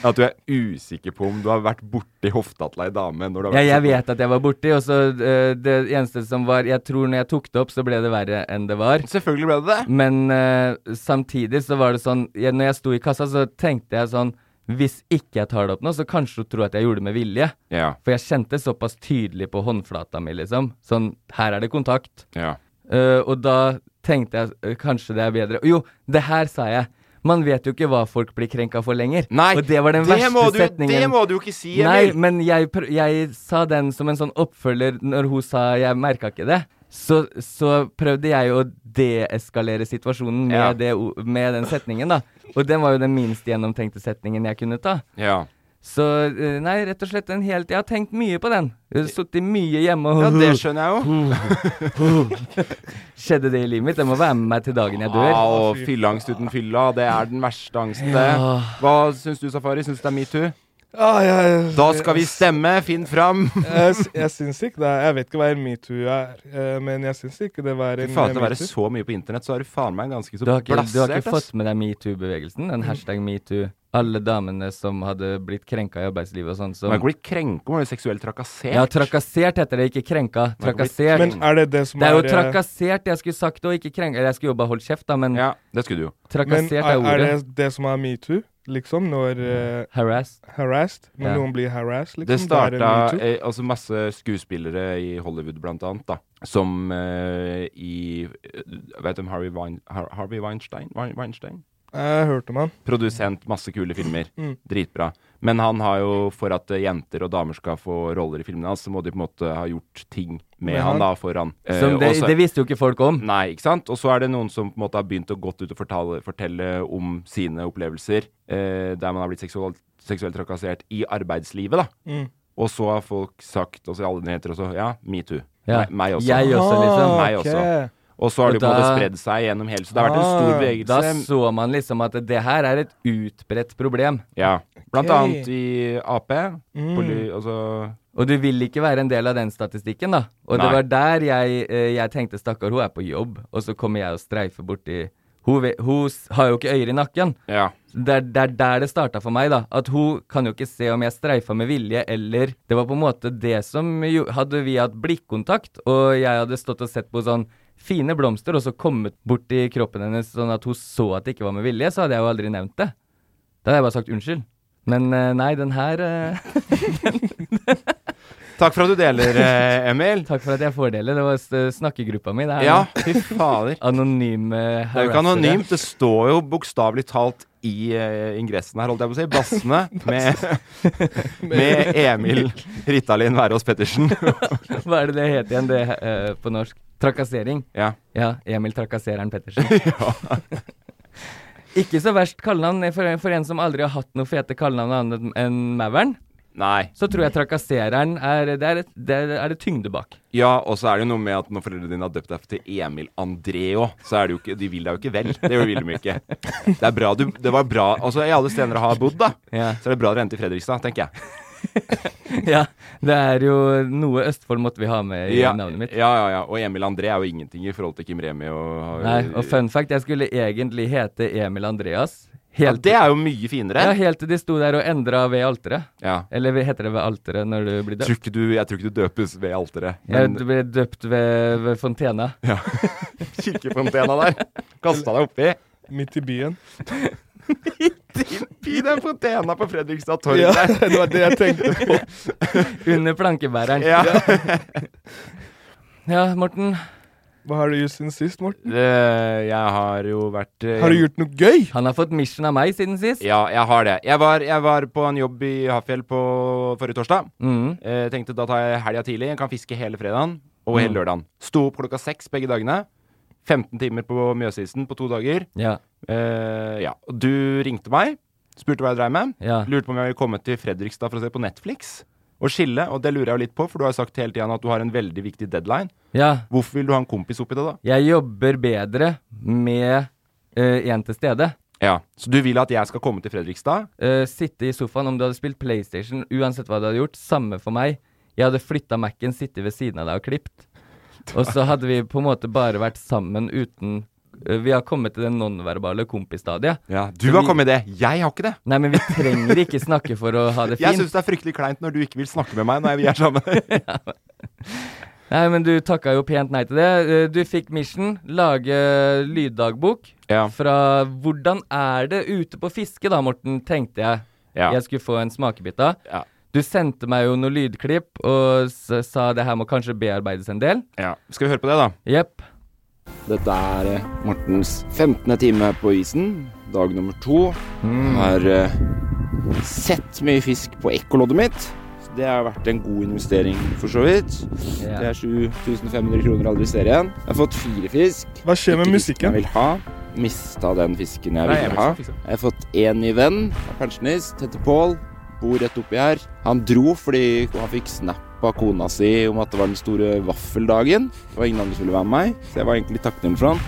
G: At du er usikker på om du har vært borti hofta til ei dame. Når du
H: Ja,
G: har vært
H: jeg
G: så-
H: vet at jeg var borti, og så eh, det eneste som var Jeg tror når jeg tok det opp, så ble det verre enn det var.
G: Selvfølgelig ble det det.
H: Men eh, samtidig så var det sånn jeg, Når jeg sto i kassa, så tenkte jeg sånn Hvis ikke jeg tar det opp nå, så kanskje hun tror at jeg gjorde det med vilje.
G: Ja.
H: For jeg kjente såpass tydelig på håndflata mi, liksom. Sånn, her er det kontakt.
G: Ja.
H: Eh, og da tenkte jeg eh, kanskje det er bedre Jo, det her sa jeg. Man vet jo ikke hva folk blir krenka for lenger.
G: Nei,
H: og det var den
G: det
H: verste
G: må du- det
H: setningen.
G: må du jo ikke si,
H: Nei,
G: Emil.
H: men jeg, prø- jeg sa den som en sånn oppfølger når hun sa 'jeg merka ikke det'. Så, så prøvde jeg å deeskalere situasjonen med,
G: Ja.
H: det, o- med den setningen, da. Og den var jo den minst gjennomtenkte setningen jeg kunne ta.
G: Ja.
H: Så eh, nei, rett og slett en helt Jeg har tenkt mye på den. Jeg har Sittet mye hjemme og
G: Ja, det skjønner jeg jo.
H: [LAUGHS] Skjedde det i livet mitt? Det må være med meg til dagen jeg dør.
G: Ja, og fylleangst uten fylla, det er den verste angsten, det.
H: Ja.
G: Hva syns du, Safari? Syns du det er metoo?
I: Ah, ja, ja.
G: Da skal vi stemme, finn fram!
I: jeg, s- jeg syns ikke det. er- Jeg vet ikke hva en metoo er, eh, men jeg syns ikke det var en eh,
G: Fy faen, til å være
I: metoo.
G: så mye på internett, så er du faen meg ganske så
H: Du har ikke, du har
G: blassert,
H: ikke fått med deg metoo-bevegelsen?
G: Mm.
H: Den hashtag metoo. Alle damene som hadde blitt krenka i arbeidslivet og sånn.
G: Man er ikke blitt krenka, man er jo seksuelt trakassert.
H: Ja, trakassert heter det, ikke krenka.
G: Man er ikke blitt
H: Trakassert.
G: Men er det det som
H: er
G: er,
H: jo
G: eh,
H: trakassert jeg skulle sagt og ikke krenka. Eller jeg skulle jo bare holdt kjeft, da, men
G: Ja, det skulle du jo.
H: Trakassert
I: men
H: er
I: er,
H: ordet.
I: er det det som er metoo? Liksom når eh,
H: Harassed.
I: harassed? Når
G: Ja.
I: noen blir harassed, liksom?
G: Det
I: da er
G: starta
I: metoo.
G: eh, altså masse skuespillere i Hollywood, blant annet, da, som eh, i eh, Vet du om Harvey, Wein, Har Harvey Weinstein? Wein Weinstein?
I: Jeg hørte om han.
G: Produsent, masse kule filmer.
I: Mm.
G: Dritbra. Men han har jo, for at eh, jenter og damer skal få roller i filmene hans, så må de på en måte ha gjort ting med,
H: Med
G: han,
H: han?
G: da, for han. Eh,
H: Som det-
G: og så-
H: det visste jo ikke folk om.
G: Nei, ikke sant? Og så er det noen som på en måte har begynt å gått ut og fortelle, fortelle om sine opplevelser, eh, der man har blitt seksual, seksuelt trakassert i arbeidslivet, da.
I: Mm.
G: Og så har folk sagt, og så i alle nyheter også, ja, metoo.
H: Ja,
G: Meg, meg også.
H: jeg også, liksom.
G: Meg også.
H: Ah, ok.
G: Og så har
H: Og
G: det jo på en måte
H: da- Ah.
G: spredd seg gjennom hele Så det har vært en stor bevegelse.
H: Da så man liksom at det her er et utbredt problem.
G: Ja.
H: Ok.
G: Blant annet i Ap.
H: Mm.
G: Poly, altså
H: Og du vil ikke være en del av den statistikken, da. Og det
G: Nei.
H: var der jeg, eh, jeg tenkte stakkar, hun er på jobb, og så kommer jeg og streifer borti hun, ve- hun s- har jo ikke øyer i nakken.
G: Ja.
H: Det er det er der det starta for meg, da. At hun kan jo ikke se om jeg streifa med vilje, eller Det var på en måte det som jo, Hadde vi hatt blikkontakt, og jeg hadde stått og sett på sånn fine blomster, og så kommet borti kroppen hennes sånn at hun så at det ikke var med vilje, så hadde jeg jo aldri nevnt det. Da hadde jeg bare sagt unnskyld. Men eh, nei, den her eh,
G: Takk for at du deler, eh,
H: [LAUGHS]
G: Emil.
H: Takk for at jeg får dele. Det var s- eh, snakkegruppa mi. Det er
G: Ja, fy fader.
H: Anonyme
G: Det er jo ikke anonymt, det står jo bokstavelig talt i eh, ingressen her, holdt jeg på å si. [LAUGHS] Bassene [LAUGHS] med, med Emil Ritalin Wærås Pettersen.
H: [LAUGHS]
G: [LAUGHS]
H: Hva er det det heter igjen det, eh, på norsk? Trakassering?
G: Ja.
H: Emil Trakassereren
G: [LAUGHS]
H: Pettersen. Ikke så verst kallenavn eh, for, for en som aldri har hatt noe fete kallenavn annet enn Mauren.
G: Nei.
H: Så tror jeg Trakassereren er Det er, et, det er, er det tyngde
G: [LAUGHS]
H: bak.
G: Ja, og så er det jo noe med at når foreldrene dine har døpt deg til Emil Andreo, så er det jo ikke De vil deg jo ikke vel. Det vil de ikke. Det er bra du Det var bra Altså, i alle steder dere har bodd, da, så er det bra dere endte i Fredrikstad, tenker jeg.
H: ja, det er jo noe Østfold måtte vi ha med i
G: Ja,
H: navnet mitt.
G: ja, ja, ja. Og Emil André er jo ingenting i forhold til Kim Remi og
H: Nei, og fun fact, jeg skulle egentlig hete Emil Andreas.
G: Ja, det er jo mye finere.
H: Ja, helt til de sto der og endra ved alteret.
G: Ja.
H: Eller ved- heter det ved alteret når du blir døpt?
G: Tror ikke du, jeg tror ikke du døpes ved alteret.
H: Ja,
G: men-
H: du ble døpt ved, ved
G: [LAUGHS]
H: fontena.
G: Ja. [LAUGHS] Kirkefontena der. Kasta deg oppi.
I: Midt i byen.
G: I den fontena på Fredrikstad torg
I: Ja,
G: der.
I: [LAUGHS] det var det jeg tenkte
H: Under plankebæreren.
G: Ja.
H: Ja, Morten.
I: Hva har du gjort siden sist, Morten?
G: [LAUGHS] Det- jeg har jo vært eh,
I: Har du gjort noe gøy?
H: Han har fått mission av meg siden sist.
G: Ja, jeg har det. Jeg var, jeg var på en jobb i Hafjell på forrige torsdag.
I: Mm.
H: Mhm.
G: Eh, tenkte da tar jeg helga tidlig, jeg kan fiske hele fredagen og hele
I: Mm.
H: Mhm.
G: lørdagen. Sto opp klokka seks begge dagene. 15 timer på Mjøsisen på to dager.
H: Ja.
G: Eh, ja. Og Du ringte meg, spurte hva jeg dreiv med.
H: Ja.
G: Lurte på om jeg ville komme til Fredrikstad for å se på Netflix. Og skille, og det lurer jeg jo litt på, for du har jo sagt hele tiden at du har en veldig viktig deadline.
H: Ja.
G: Hvorfor vil du ha en kompis oppi det, da?
H: Jeg jobber bedre med eh, en til stede.
G: Ja, Så du vil at jeg skal komme til Fredrikstad?
H: Eh, sitte i sofaen om du hadde spilt PlayStation, uansett hva du hadde gjort. Samme for meg. Jeg hadde flytta Mac-en, sittet ved siden av deg og klippet. Og så hadde vi på en måte bare vært sammen uten eh, Vi har kommet til det nonverbale kompisstadiet.
K: Ja, du har kommet det. Jeg har ikke det.
H: Nei, men vi trenger ikke snakke for å ha det fint.
K: Jeg syns det er fryktelig kleint når du ikke vil snakke med meg når vi er sammen.
H: Nei, men du takka jo pent nei til det. Eh, Du fikk mission, lage lyddagbok fra Hvordan er det ute på fiske, da, Morten, tenkte jeg.
K: Ja.
H: Jeg skulle få en smakebit av. Du sendte meg jo noen lydklipp og s sa det her må kanskje bearbeides en del.
K: Skal vi høre på det, da?
H: Jepp.
G: Dette er eh, Mortens 15. time på isen, dag nummer to.
H: Mm.
G: Har eh, sett mye fisk på ekkoloddet mitt. Så det har vært en god investering, for så vidt.
J: Ja.
G: Det er 7500 kroner aldri ser igjen. Jeg har fått fire fisk.
J: Hva skjer med
G: Ikke fisken
J: musikken?
G: Jeg
K: Mm.
G: vil ha. Mista den fisken jeg
J: Nei, jeg
G: ville
J: vet
G: ha.
J: ikke, liksom.
G: Jeg har fått én ny venn, en pensjonist, heter Pål. Bor rett oppi her. Han dro fordi han fikk snap av kona si om at det var den store vaffeldagen. Det var ingen andre som ville være med meg, så jeg var egentlig litt takknemlig for han.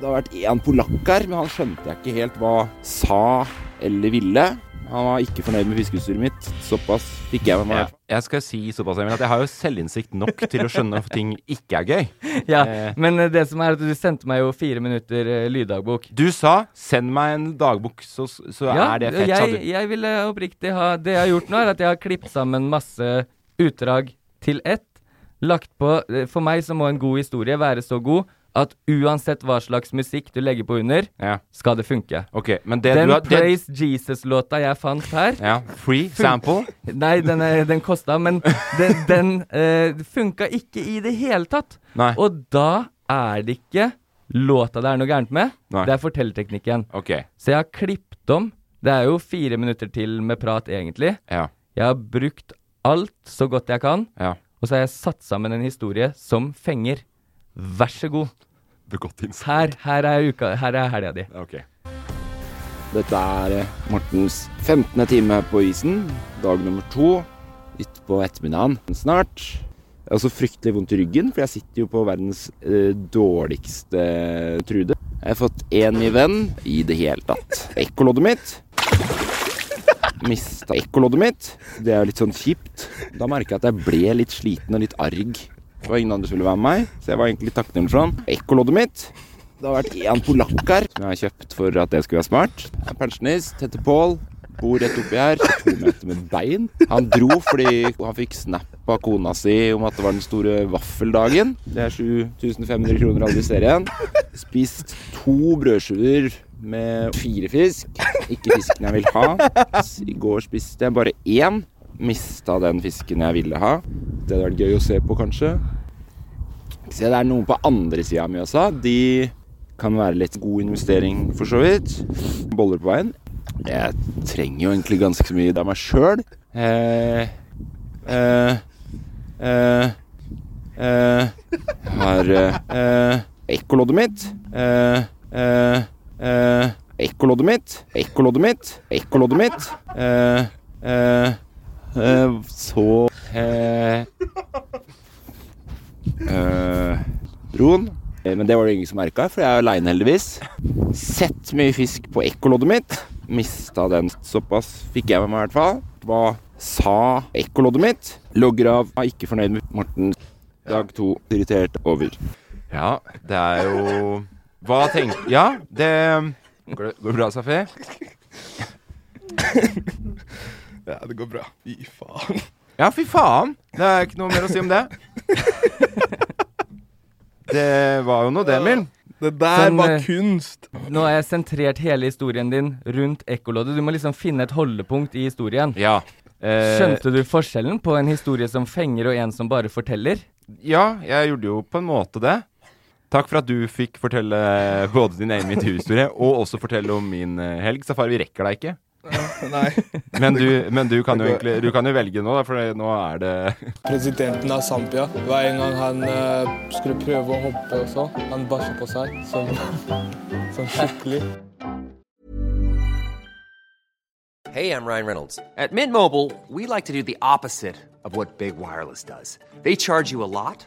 G: Det har vært én polakk her, men han skjønte jeg ikke helt hva sa eller ville. Han var ikke fornøyd med fiskeutstyret mitt. Såpass fikk jeg med meg.
K: Ja. Jeg skal si såpass, Emil, at jeg har jo selvinnsikt nok til å skjønne at ting ikke er gøy.
H: [LAUGHS] Ja,
K: Eh.
H: Men eh, det som er at du sendte meg jo fire minutter eh, lyddagbok.
K: Du sa 'send meg en dagbok, så, så
H: Ja,
K: er det fett', sa
H: jeg,
K: du.
H: jeg ville oppriktig ha Det jeg har gjort nå, er at jeg har klippet sammen masse utdrag til ett. Lagt på eh, For meg så må en god historie være så god at uansett hva slags musikk du legger på under, skal det funke.
K: Ok, men det
H: den
K: du har- det-
H: Praise Jesus-låta jeg fant her
K: Ja, Free
H: fun-
K: sample.
H: Nei, den, er, den kosta, men den, den eh, funka ikke i det hele tatt.
K: Nei.
H: Og da er det ikke låta det er noe gærent med.
K: Nei.
H: Det er fortellerteknikken.
K: Ok.
H: Så jeg har klippet om. Det er jo fire minutter til med prat, egentlig.
K: Ja.
H: Jeg har brukt alt så godt jeg kan,
K: Ja.
H: og så har jeg satt sammen en historie som fenger. Vær så god. Her, her er uka, her er helga di.
G: Dette er eh, Mortens 15. time på isen, dag nummer to, utpå ettermiddagen snart. Jeg har så fryktelig vondt i ryggen, for jeg sitter jo på verdens eh, dårligste eh, trude. Jeg har fått én ny venn i det hele tatt. Ekkoloddet mitt. Mista ekkoloddet mitt. Det er jo litt sånn kjipt. Da merka jeg at jeg ble litt sliten og litt arg. Det var ingen andre som ville være med meg, så jeg var egentlig litt takknemlig for han. Ekkoloddet mitt. Det har vært én polakk her som jeg har kjøpt for at det skulle være smart. Jeg er pensjonist, heter Pål. Bor rett oppi her, to meter med bein. Han dro fordi han fikk snap av kona si om at det var den store vaffeldagen. Det er 7500 kroner aldri ser igjen. Spist to brødskiver med fire fisk. Ikke fisken jeg vil ha. I går spiste jeg bare én. Mista den fisken jeg ville ha. Det hadde vært gøy å se på, kanskje. Se, det er noen på andre sida av Mjøsa. De kan være litt god investering, for så vidt. Boller på veien. Jeg trenger jo egentlig ganske så mye av meg sjøl. Eh, eh, eh, eh, har eh, eh, ekkoloddet mitt. Eh, eh, eh, ekkoloddet mitt. Ekkoloddet mitt. Ekkoloddet mitt. Eh, eh, eh, så eh, Eh, Ron. Eh, Men det var det ingen som merka, for jeg er aleine, heldigvis. Sett mye fisk på ekkoloddet mitt. Mista den. Såpass fikk jeg med meg, i hvert fall. Hva sa ekkoloddet mitt? Logger av. Er ikke fornøyd med Morten. Dag to. Irritert. Over.
K: Ja, det er jo Hva tenker Ja, det Går det, går det bra, Safi?
J: Ja, det går bra. Fy faen.
K: Ja, fy faen! Det er ikke noe mer å si om det. Det var jo noe, det, Emil.
J: Det der
H: Sånn,
J: var
H: eh,
J: kunst.
H: Nå har jeg sentrert hele historien din rundt ekkoloddet. Du må liksom finne et holdepunkt i historien. Eh,
K: Ja.
H: Skjønte du
G: Eh.
H: forskjellen på en historie som fenger og en som bare forteller?
K: Ja, jeg gjorde jo på en måte det. Takk for at du fikk fortelle både din egen intervjuhistorie og også fortelle om min eh, helg. Safari, vi rekker deg ikke.
J: Nei.
K: [LAUGHS] Men du, men du kan jo
J: Det går-
K: egentlig Du kan jo velge nå, da, for nå er det [LAUGHS]
I: Presidenten av Zambia. Hver en gang han eh, skulle prøve å hoppe og så, han bæsja på seg. Som, [LAUGHS] som skikkelig.
B: Hey, I'm Ryan Reynolds. At Mint Mobile, we like to do the opposite of what Big Wireless does. They charge you a lot,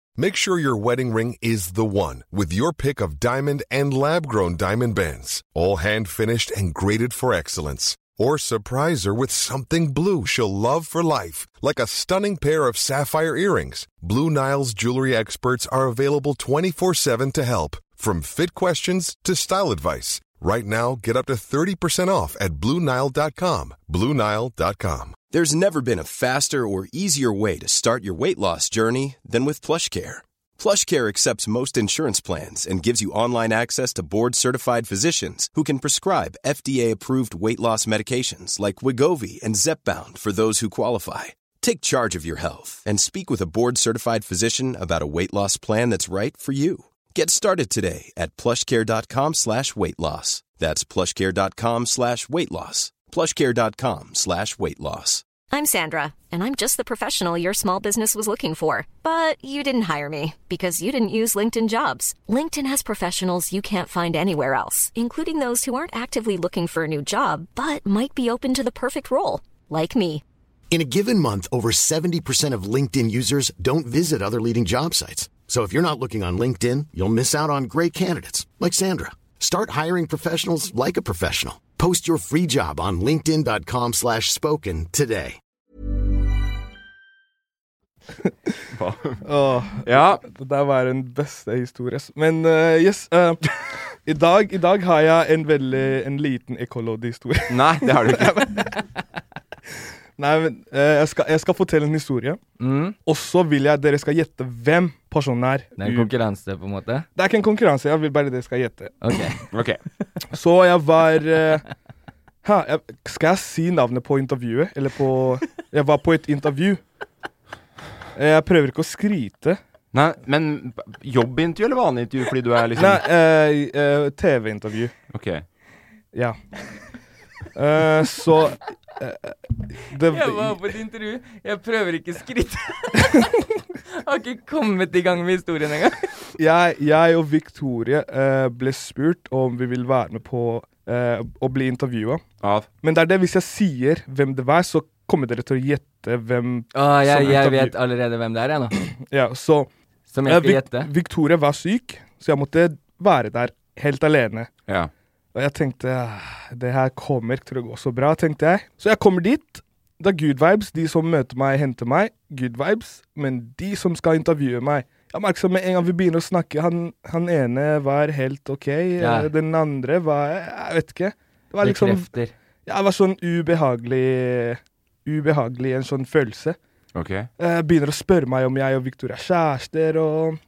A: Make sure your wedding ring is the one with your pick of diamond and lab grown diamond bands, all hand finished and graded for excellence. Or surprise her with something blue she'll love for life, like a stunning pair of sapphire earrings. Blue Nile's jewelry experts are available 24 7 to help, from fit questions to style advice. Right now, get up to 30% off at BlueNile.com. BlueNile.com.
L: There's never been a faster or easier way to start your weight loss journey than with PlushCare. PlushCare accepts most insurance plans and gives you online access to board-certified physicians who can prescribe FDA-approved weight loss medications like Wigovi and Zepbound for those who qualify. Take charge of your health and speak with a board-certified physician about a weight loss plan that's right for you. Get started today at plushcare.com slash weight loss. That's plushcare.com slash weight loss. Plushcare.com slash weight loss.
M: I'm Sandra, and I'm just the professional your small business was looking for. But you didn't hire me because you didn't use LinkedIn jobs. LinkedIn has professionals you can't find anywhere else, including those who aren't actively looking for a new job but might be open to the perfect role, like me.
N: In a given month, over 70% of LinkedIn users don't visit other leading job sites. So if you're not looking on LinkedIn, you'll miss out on great candidates like Sandra. Start hiring professionals like a professional. Post your free job on linkedin.com/spoken slash spoken today.
I: Åh, Det der var den beste historien. ass. Men eh, yes eh, [LAUGHS] i, dag, I dag har jeg en veldig En liten ekkolodd-historie.
G: Nei, det har du ikke.
I: [LAUGHS] Nei, men eh, jeg, skal, jeg skal fortelle en historie. Og så vil jeg dere skal gjette hvem personen er.
H: Mm, Det er en konkurranse, på en måte.
I: Det er ikke en konkurranse, jeg vil bare dere skal gjette.
G: Ok.
I: Så jeg var eh, hæ, jeg, Skal jeg si navnet på intervjuet? Eller på Jeg var på et intervju. Eh, Jeg prøver ikke å skryte.
G: Nei, men jobbintervju eller vanlig intervju? Fordi du er liksom
I: Nei, eh, eh, TV-intervju.
G: Ok.
I: Ja. Eh, så eh, det,
H: Jeg var på et intervju. Jeg prøver ikke skritt. Jeg Har ikke kommet i gang med historien engang.
I: jeg, jeg og Victoria eh, ble spurt om vi vil være med på eh, å bli intervjua. Men det er det hvis jeg sier hvem det var, så kommer dere til å gjette hvem
H: Å, jeg,
I: som
H: jeg
I: intervju-
H: vet allerede hvem det er, jeg nå.
I: Ja, så
H: Som jeg
I: Eh,
H: skal
I: Vic-
H: gjette.
I: Victoria var syk, så jeg måtte være der helt alene.
G: Ja.
I: Og jeg tenkte "Ah, det her kommer ikke til å gå så bra, tenkte jeg. Så jeg kommer dit. Det er good vibes. De som møter meg, henter meg. Good vibes. Men de som skal intervjue meg Jeg merker som med en gang vi begynner å snakke Han, han ene var helt OK.
H: Ja.
I: eh, Den andre var Jeg vet ikke. Det var liksom
H: Bekrefter.
I: Ja, det var sånn ubehagelig Ubehagelig en sånn følelse.
G: Ok.
I: Eh, begynner å spørre meg om jeg og Victoria er kjærester, og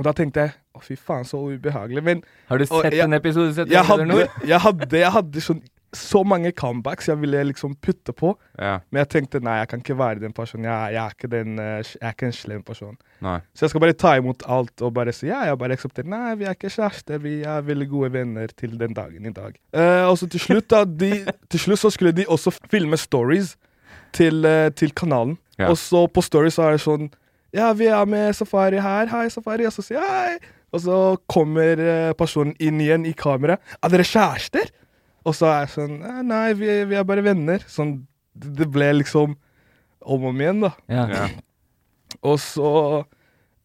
I: Og da tenkte jeg å, fy faen, så ubehagelig. Men
H: Har du
I: og
H: sett en episode sett
I: jeg
H: Under
I: hadde,
H: Nord?
I: jeg hadde, jeg hadde sånn, så mange comebacks jeg ville liksom putte på.
G: Ja.
I: Men jeg tenkte nei, jeg kan ikke være den personen. Jeg, jeg, er, ikke den, eh, jeg er ikke en slem person.
G: Nei.
I: Så jeg skal bare ta imot alt og bare si ja, jeg bare aksepterer. Nei, vi er ikke kjærester, vi er veldig gode venner til den dagen i dag. Eh, og så til slutt, da, de, til slutt så skulle de også filme stories til, eh, til kanalen.
G: Ja.
I: Og så på stories så er det sånn Ja, vi er med Safari her. Hei, Safari. Og så sier jeg hei. Og så kommer eh, personen inn igjen i kameraet. Er dere kjærester? Og så er jeg sånn «Eh, Nei, vi, vi er bare venner. Sånn, det det ble liksom om og om igjen, da.
H: Ja.
I: Og så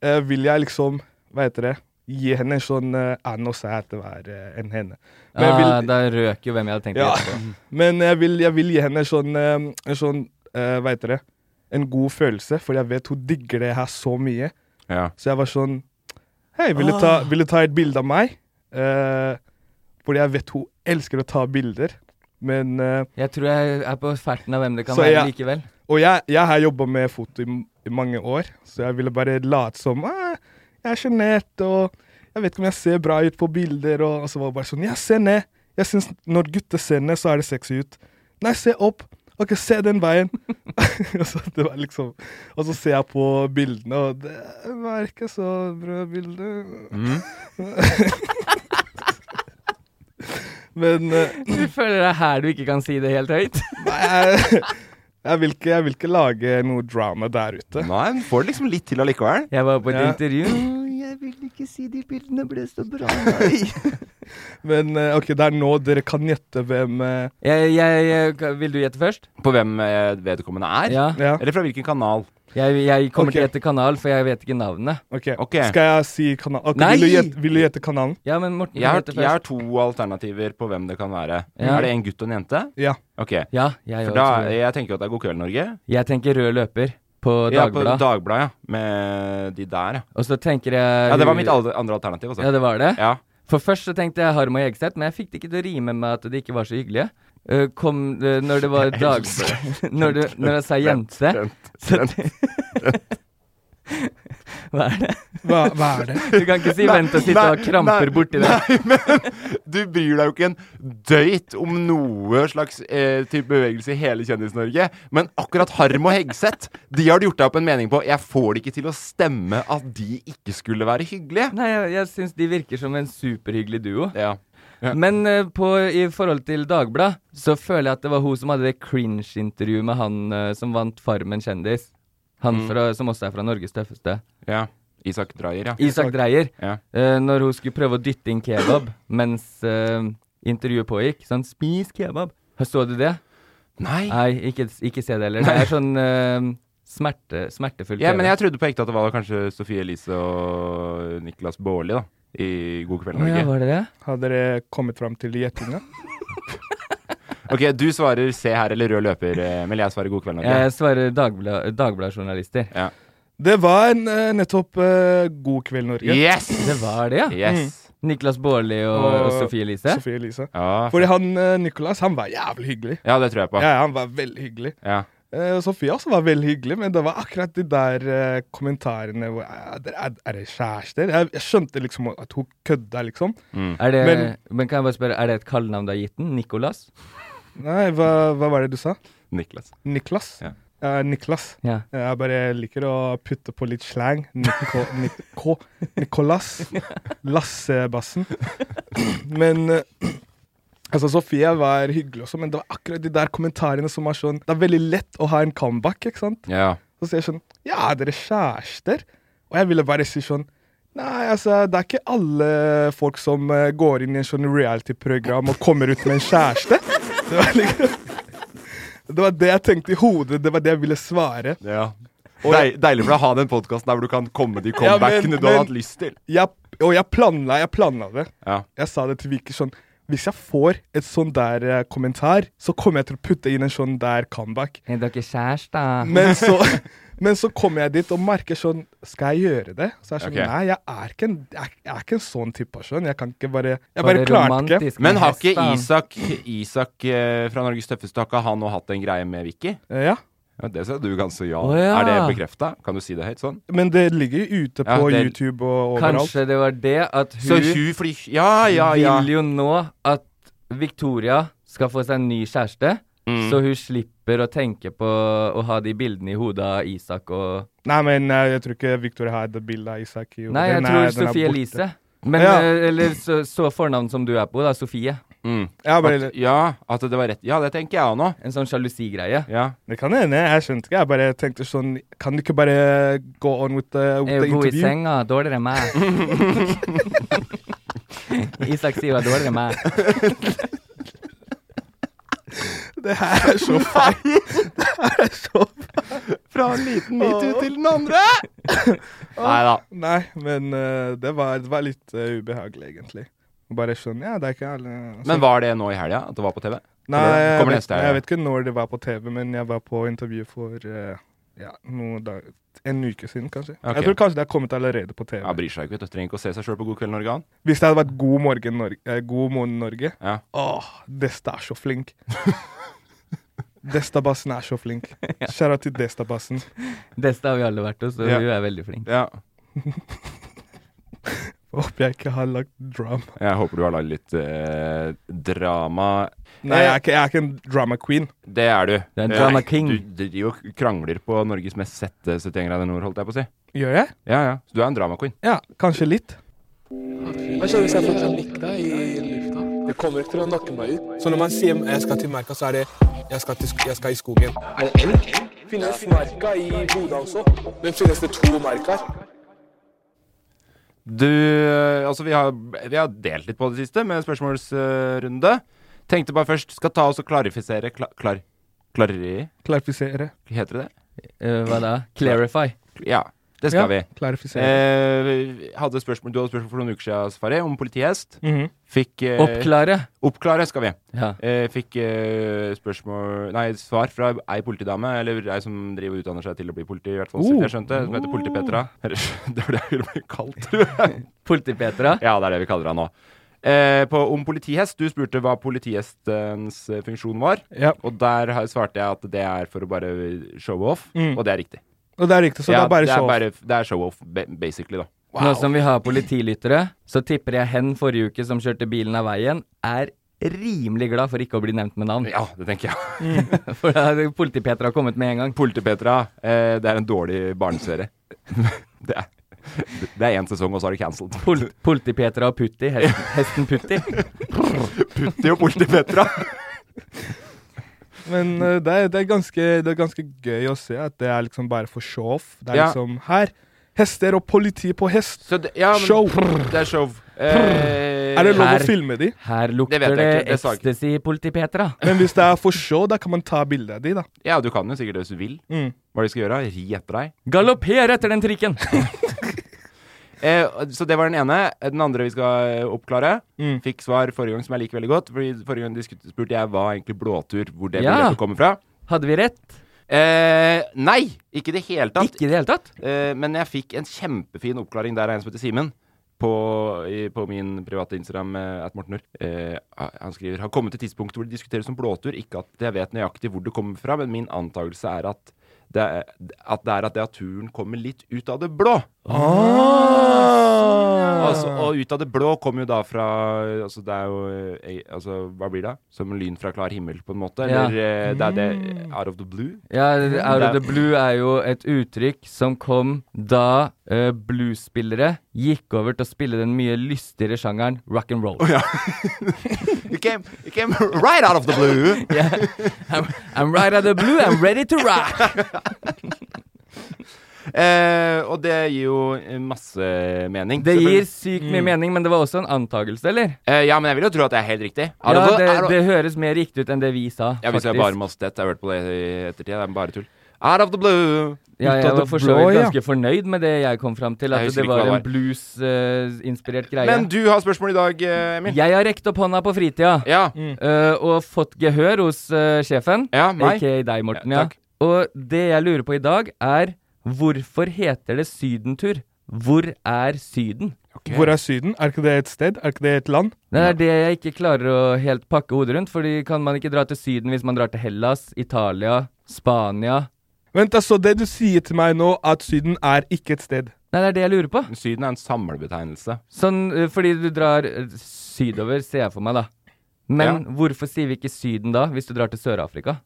I: eh, vil jeg liksom, hva heter det, gi henne en sånn eh, Anne og Sæ til hver eh, en henne. Men jeg vil,
H: Ah, da røk jo hvem jeg hadde tenkt å
I: ja,
H: gjette på.
I: men jeg vil, jeg vil gi henne en sånn, eh, en sånn eh, hva heter det, en god følelse, for jeg vet hun digger det her så mye.
G: Ja.
I: Så jeg var sånn, hei, vil du ta,
G: Ah.
I: vil du ta et bilde av meg? Eh, fordi jeg vet hun elsker å ta bilder, men... eh,
H: Jeg tror jeg er på ferten av hvem det kan
I: så
H: være
I: jeg-
H: likevel.
I: Og jeg, jeg har jobba med foto i, m- i mange år, så jeg ville bare late som «Ah, jeg er sjenert, og jeg vet ikke om jeg ser bra ut på bilder. Og, og så var det bare sånn Ja, se ned. Jeg syns når gutter ser ned, så er det sexy ut. Nei, se opp. Ok, se den veien. [LAUGHS] og, så det var liksom, og så ser jeg på bildene, og det var ikke så bra bilde. [LAUGHS] Men eh,
H: Du føler det er her du ikke kan si det helt høyt?
I: Nei, jeg, jeg, vil ikke, jeg vil ikke lage noe drama der ute.
G: Nei, men får det liksom litt til allikevel.
H: Jeg var på et
I: Ja.
H: intervju.
O: Jeg vil ikke ikke si de bildene ble så bra.
I: Men eh, ok, det er nå dere kan gjette hvem eh,
H: Jeg, jeg, jeg, vil du gjette først?
G: På hvem eh, vedkommende er?
H: Ja.
G: Eller fra hvilken kanal?
H: Jeg, jeg kommer til
I: Ok.
H: å gjette kanal, for jeg vet ikke navnet.
I: Skal jeg si kanal? Ok,
H: Nei!
I: Vil, du gjette, vil du gjette kanalen?
H: Ja, men Morten
G: Jeg har,
H: heter først.
G: jeg har to alternativer på hvem det kan være.
H: Ja.
G: Er det en gutt og en jente?
I: Ja.
G: Ok.
H: Ja, jeg
G: For
H: også
G: da,
H: tror det.
G: jeg tenker jo at det er God kveld, Norge.
H: Jeg tenker rød løper på
G: Ja, på
H: Dagbladet.
G: Dagbladet, ja. Med de der, ja.
H: Og så tenker jeg
G: Ja, det var mitt al- andre alternativ, altså.
H: Ja, det var det?
G: Ja.
H: For først så tenkte jeg Harm og Hegseth, men jeg fikk det ikke til å rime med at de ikke var så hyggelige. Eh, kom eh, når
G: [LAUGHS]
H: det var dag... [LAUGHS] når, du, når jeg sa jente så [LAUGHS] Hva er det?
G: Hva- hva er det?
H: Du kan ikke si
G: Nei,
H: 'vent og sitte og ha
G: nei,
H: kramper
G: nei,
H: borti det'.
G: Nei, men du bryr deg jo ikke en døyt om noe slags eh, type bevegelse i hele Kjendis-Norge. Men akkurat Harm og Hegseth, de har du gjort deg opp en mening på. Jeg får det ikke til å stemme at de ikke skulle være hyggelige.
H: Nei, jeg, jeg syns de virker som en superhyggelig duo.
G: Ja.
H: Men eh, på, i forhold til Dagbladet, så føler jeg at det var hun som hadde det cringe-intervjuet med han eh, som vant Farmen kjendis. Han
G: Mm.
H: fra, som også er fra Norges tøffeste.
G: Ja. Isak Dreyer, ja.
H: Isak Dreyer.
G: Ja.
H: Eh, når hun skulle prøve å dytte inn kebab mens eh, intervjuet pågikk. Sånn 'spis kebab'. Så du det?
G: Nei.
H: Nei, ikke, ikke se det heller. Det
G: Nei.
H: er sånn eh, smerte, smertefull
G: Ja, men
H: kebab.
G: jeg trodde på ekte at det var kanskje Sofie Elise og Niklas Baarli, da. I God kveld,
H: Å
G: Norge.
H: ja, var det det?
I: [LAUGHS] Har dere kommet fram til gjettinga?
G: Ok, du svarer Se her eller Rød løper, Emil. Jeg svarer God kveld, Norge.
H: Jeg svarer Dagbla- Dagbladet-journalister.
I: Det var en, eh, nettopp eh, God kveld, Norge.
G: Yes!
H: Det var Mm. det, ja.
I: Yes.
H: Niklas Baarli og, og Sofie Elise.
I: Sofie Elise.
G: Ja,
I: Fordi han eh, Nicolas, han var jævlig hyggelig.
G: Ja, det tror jeg på.
I: Ja, han var veldig hyggelig.
G: Ja.
I: Eh, Sofie også var veldig hyggelig, men det var akkurat de der eh, kommentarene hvor eh, dere er, er det kjærester? Jeg, jeg skjønte liksom at hun kødda, liksom.
H: Er det, men,
I: Men-
H: kan jeg bare spørre, er det et kallenavn du har gitt den? Nicolas?
I: Nei, hva, hva var det du sa?
G: Niklas.
I: Niklas?
G: Ja.
I: Niklas.
H: Ja.
I: Jeg bare liker å putte på litt slang. Nico, Nico, Nicolas. Lassebassen. Men eh, Altså, Sofie var hyggelig også, men det var akkurat de der kommentarene som var sånn Det er veldig lett å ha en comeback, ikke sant?
G: Ja.
I: Så sier jeg sånn Ja, er dere kjærester? Og jeg ville bare si sånn Nei, altså, det er ikke alle folk som eh, går inn i en sånn reality-program og kommer ut med en kjæreste. Det var, liksom, det var det jeg tenkte i hodet, det var det jeg ville svare.
G: Ja.
I: Og
G: Deil, deilig for deg å ha den podkasten der hvor du kan komme de comebackene du har hatt lyst til.
I: Jeg, og jeg planla, jeg planla det.
G: Ja.
I: Jeg sa det til Viker sånn Hvis jeg får et sånn der eh, kommentar, så kommer jeg til å putte inn en sånn der comeback.
H: Er dere kjærester?
I: Men
H: [LAUGHS]
I: så, men så kommer jeg dit og merker sånn Skal jeg gjøre det? Så er jeg sånn
G: Ok.
I: Nei, jeg er, ikke en, jeg, er- jeg er ikke en sånn type. Sånn. Jeg kan ikke bare Jeg
H: Bare
I: bare klarte
H: romantisk
I: ikke.
G: Men har ikke Isak, Isak eh, fra Norges tøffeste har ikke han nå hatt en greie med Vicky?
I: Ja.
G: Det sa du ganske ja.
I: Å, ja.
G: Er det bekrefta? Kan du si det høyt sånn?
I: Men det ligger jo ute
G: Ja,
I: på
G: det-
I: YouTube og overalt.
H: Kanskje det var det at hun,
G: Så hun fly- ja, ja, ja.
H: vil jo nå at Victoria skal få seg en ny kjæreste,
G: Mm.
H: så hun slipper å tenke på å ha de bildene i hodet av Isak og
I: Nei, men eh, jeg tror ikke Victoria har det bildet av Isak. i hodet.
H: Nei, jeg
I: Den er-
H: tror
I: den er
H: Sofie
I: borte.
H: Elise. Men,
I: ja.
H: eh, Eller så, så fornavn som du er på, da. Sofie.
G: Mm.
I: Ja,
G: at, ja, at det var rett. Ja, det tenker jeg òg nå.
H: En sånn sjalusigreie.
G: Ja.
I: Det kan hende. Jeg skjønte ikke. Jeg bare tenkte sånn Kan du ikke bare go on with the, with
H: Er
I: the
H: jo god i
I: interview?
H: senga, dårligere enn meg.
G: [LAUGHS]
H: Isak sier hun er dårligere enn meg.
I: Det her er så feil. Det her er så feil.
G: Fra en liten metoo til den andre. Neida.
I: Nei, men eh, det, var, det var litt eh, ubehagelig, egentlig. Bare sånn Ja, det er ikke alle
G: Men var det nå i helga at det var på TV?
I: Nei,
G: Eller
I: jeg
G: kommer
I: vet,
G: neste helg?
I: jeg vet ikke når det var på TV, men jeg var på intervju for eh, ja, noe dag, en uke siden, kanskje.
G: Ok.
I: Jeg tror kanskje det har kommet allerede på TV.
G: Ja, bryr seg ikke, vet du. Trenger ikke å se seg sjøl på God kveld, Norge, han.
I: Hvis det hadde vært God morgen Norge, eh, God morgen Norge
G: Ja.
I: Åh, Desta er så
G: [LAUGHS]
I: flink. Destabassen er så flink. Skjæra til Destabassen.
H: Desta har vi alle vært hos, og
I: Ja.
H: hun er veldig flink.
G: Ja.
I: Håper jeg ikke har lagt drama.
G: Jeg håper du har lagd litt eh, drama.
I: Nei, jeg er, ikke, jeg er ikke en drama queen.
G: Det er du.
I: er en
G: Eh,
I: drama king.
G: Du driver og krangler på Norges mest sette 71 grader nord, holdt jeg på å si.
I: Gjør jeg?
G: Ja, ja. Så du er en drama queen.
I: Ja, kanskje litt.
J: Hva skjer hvis jeg får sånn nikk deg i lufta? Det kommer ikke til å nakke meg ut. Så når man sier jeg skal til merka, så er det jeg skal, til, sk- jeg skal i skogen. Er det elg? Finnes merka i Bodø også? Men finnes det to merker?
G: Du eh, Altså, vi har, vi har delt litt på det siste med spørsmålsrunde. Tenkte bare først skal ta oss og klarifisere kla, klar, Klareri?
I: Klarifisere.
G: Heter det det?
H: Eh, hva da? Clarify.
G: Ja. Det skal
H: Ja,
G: vi.
I: klarifisere.
G: Eh, vi hadde spørsmål, du hadde spørsmål for noen uker siden, Safari, om politihest.
I: Mhm.
G: Fikk eh,
H: Oppklare.
G: Oppklare skal vi.
H: Ja.
G: Eh, fikk eh, spørsmål Nei, svar fra ei politidame, eller ei som driver og utdanner seg til å bli politi, i hvert fall, så vidt jeg
H: Oh.
G: skjønte, som heter Politipetra.
H: Oh.
G: [LAUGHS] Det er det jeg ville bli kalt, [LAUGHS] tror jeg. Politipetra? Ja, det er det vi kaller han nå. Eh, på, om politihest. Du spurte hva politihestens eh, funksjon var. Og der har- svarte jeg at det er for å bare show off,
I: Mm.
G: og det er riktig.
I: Og det er riktig, så det er bare show-off.
G: bare- det er show-off, ba- basically, da.
H: Nå
I: altså,
H: som vi har politilyttere, så tipper jeg hen forrige uke som kjørte bilen av veien, er rimelig glad for ikke å bli nevnt med
G: [LAUGHS]
H: navn.
G: Ja, det tenker
H: jeg. for da hadde Politi-Petra kommet med en gang.
G: Politi-Petra, eh, det er en dårlig barneserie. [LAUGHS] det er det er én sesong, og så er det cancelled.
H: Politi-Petra og Putti. Hesten, hesten Putti.
G: [LAUGHS] Putti og Politi-Petra.
I: Men eh, det, er, det, er ganske, det er ganske gøy å se at det er liksom bare for show-off. Det er
G: Ja.
I: liksom her hester og politi på hest.
G: Så det, ja, men-
I: show!
G: Det er show. Eh,
I: er det lov
H: her-
I: å filme de?
H: Her
G: Det vet
H: lukter
G: jeg
H: det,
G: ikke, det sa jeg ikke.
H: ecstasy, Politi-Petra.
I: Men hvis det er for show, da kan man ta bilde av de, da.
G: Ja, du kan jo sikkert det hvis du vil.
I: Mm.
G: Hva de skal gjøre? Ri etter deg?
H: Galopper etter den trikken!
G: eh, så det var den ene. Den andre vi skal eh, oppklare,
I: Mm.
G: fikk svar forrige gang som jeg liker veldig godt. Fordi Forrige gang diskut- spurte jeg hva egentlig blåtur, hvor det
H: Ja.
G: begrepet kommer fra.
H: Hadde vi rett?
G: Eh, nei, ikke i det hele tatt.
H: Ikke i det hele tatt?
G: Eh, men jeg fikk en kjempefin oppklaring der av en som heter Simen. På, i, på min private Instagram, eh, at Mortenur. Eh, han skriver har kommet til tidspunktet hvor det diskuteres om blåtur. Ikke at jeg vet nøyaktig hvor det kommer fra, men min antakelse er at det er at det er at det at turen kommer litt ut av det blå. Altså, og ut av det blå kommer jo da fra altså Det er jo eh, altså, Hva blir det? Som lyn fra klar himmel, på en måte?
H: Ja.
G: Eller eh, det er det Out of the blue?
H: Ja, Out of
G: Det
H: the Blue er jo et uttrykk som kom da eh, bluesspillere gikk over til å spille den mye lystigere sjangeren rock and roll.
G: It came, it came right out of the blue.
H: yeah. I'm, I'm right out of the blue, I'm ready to rock.
G: Eh, og det gir jo eh, masse mening.
H: Det gir
G: [LAUGHS] selvfølgelig.
H: sykt mye
G: Mm.
H: mening, men det var også en antakelse, eller?
G: Eh, ja, men jeg vil jo tro at det er helt riktig.
H: Ja,
G: Er det-
H: det,
G: er det-
H: det høres mer riktig ut enn det vi sa,
G: Ja, hvis jeg
H: faktisk.
G: bare mastet, jeg har hørt på det i ettertid. Det er bare tull. Out of the blue.
H: Ja, jeg var for så vidt ganske fornøyd med det jeg kom fram til,
G: Jeg
H: at
G: husker
H: det
G: ikke
H: var
G: hva
H: en
G: det var.
H: blues-inspirert greie.
G: Men du har spørsmål i dag, eh, Emil.
H: Jeg har rekt opp hånda på fritida
G: Mm.
H: eh, og fått gehør hos eh, sjefen,
G: meg.
H: aka deg, Morten.
G: Ja,
H: Ja,
G: takk.
H: Og det jeg lurer på i dag, er hvorfor heter det Sydentur? Hvor er Syden?
I: Hvor er Syden? Er ikke det et sted? Er ikke det et land?
H: Det er det jeg ikke klarer å helt pakke hodet rundt, fordi kan man ikke dra til Syden hvis man drar til Hellas, Italia, Spania?
I: Vent, da, så det du sier til meg nå, at Syden er ikke et sted?
H: Nei, det er det jeg lurer på.
G: Syden er en samlebetegnelse.
H: Sånn, eh, fordi du drar eh, sydover, ser jeg for meg, da. Men hvorfor sier vi ikke Syden da, hvis du drar til Sør-Afrika?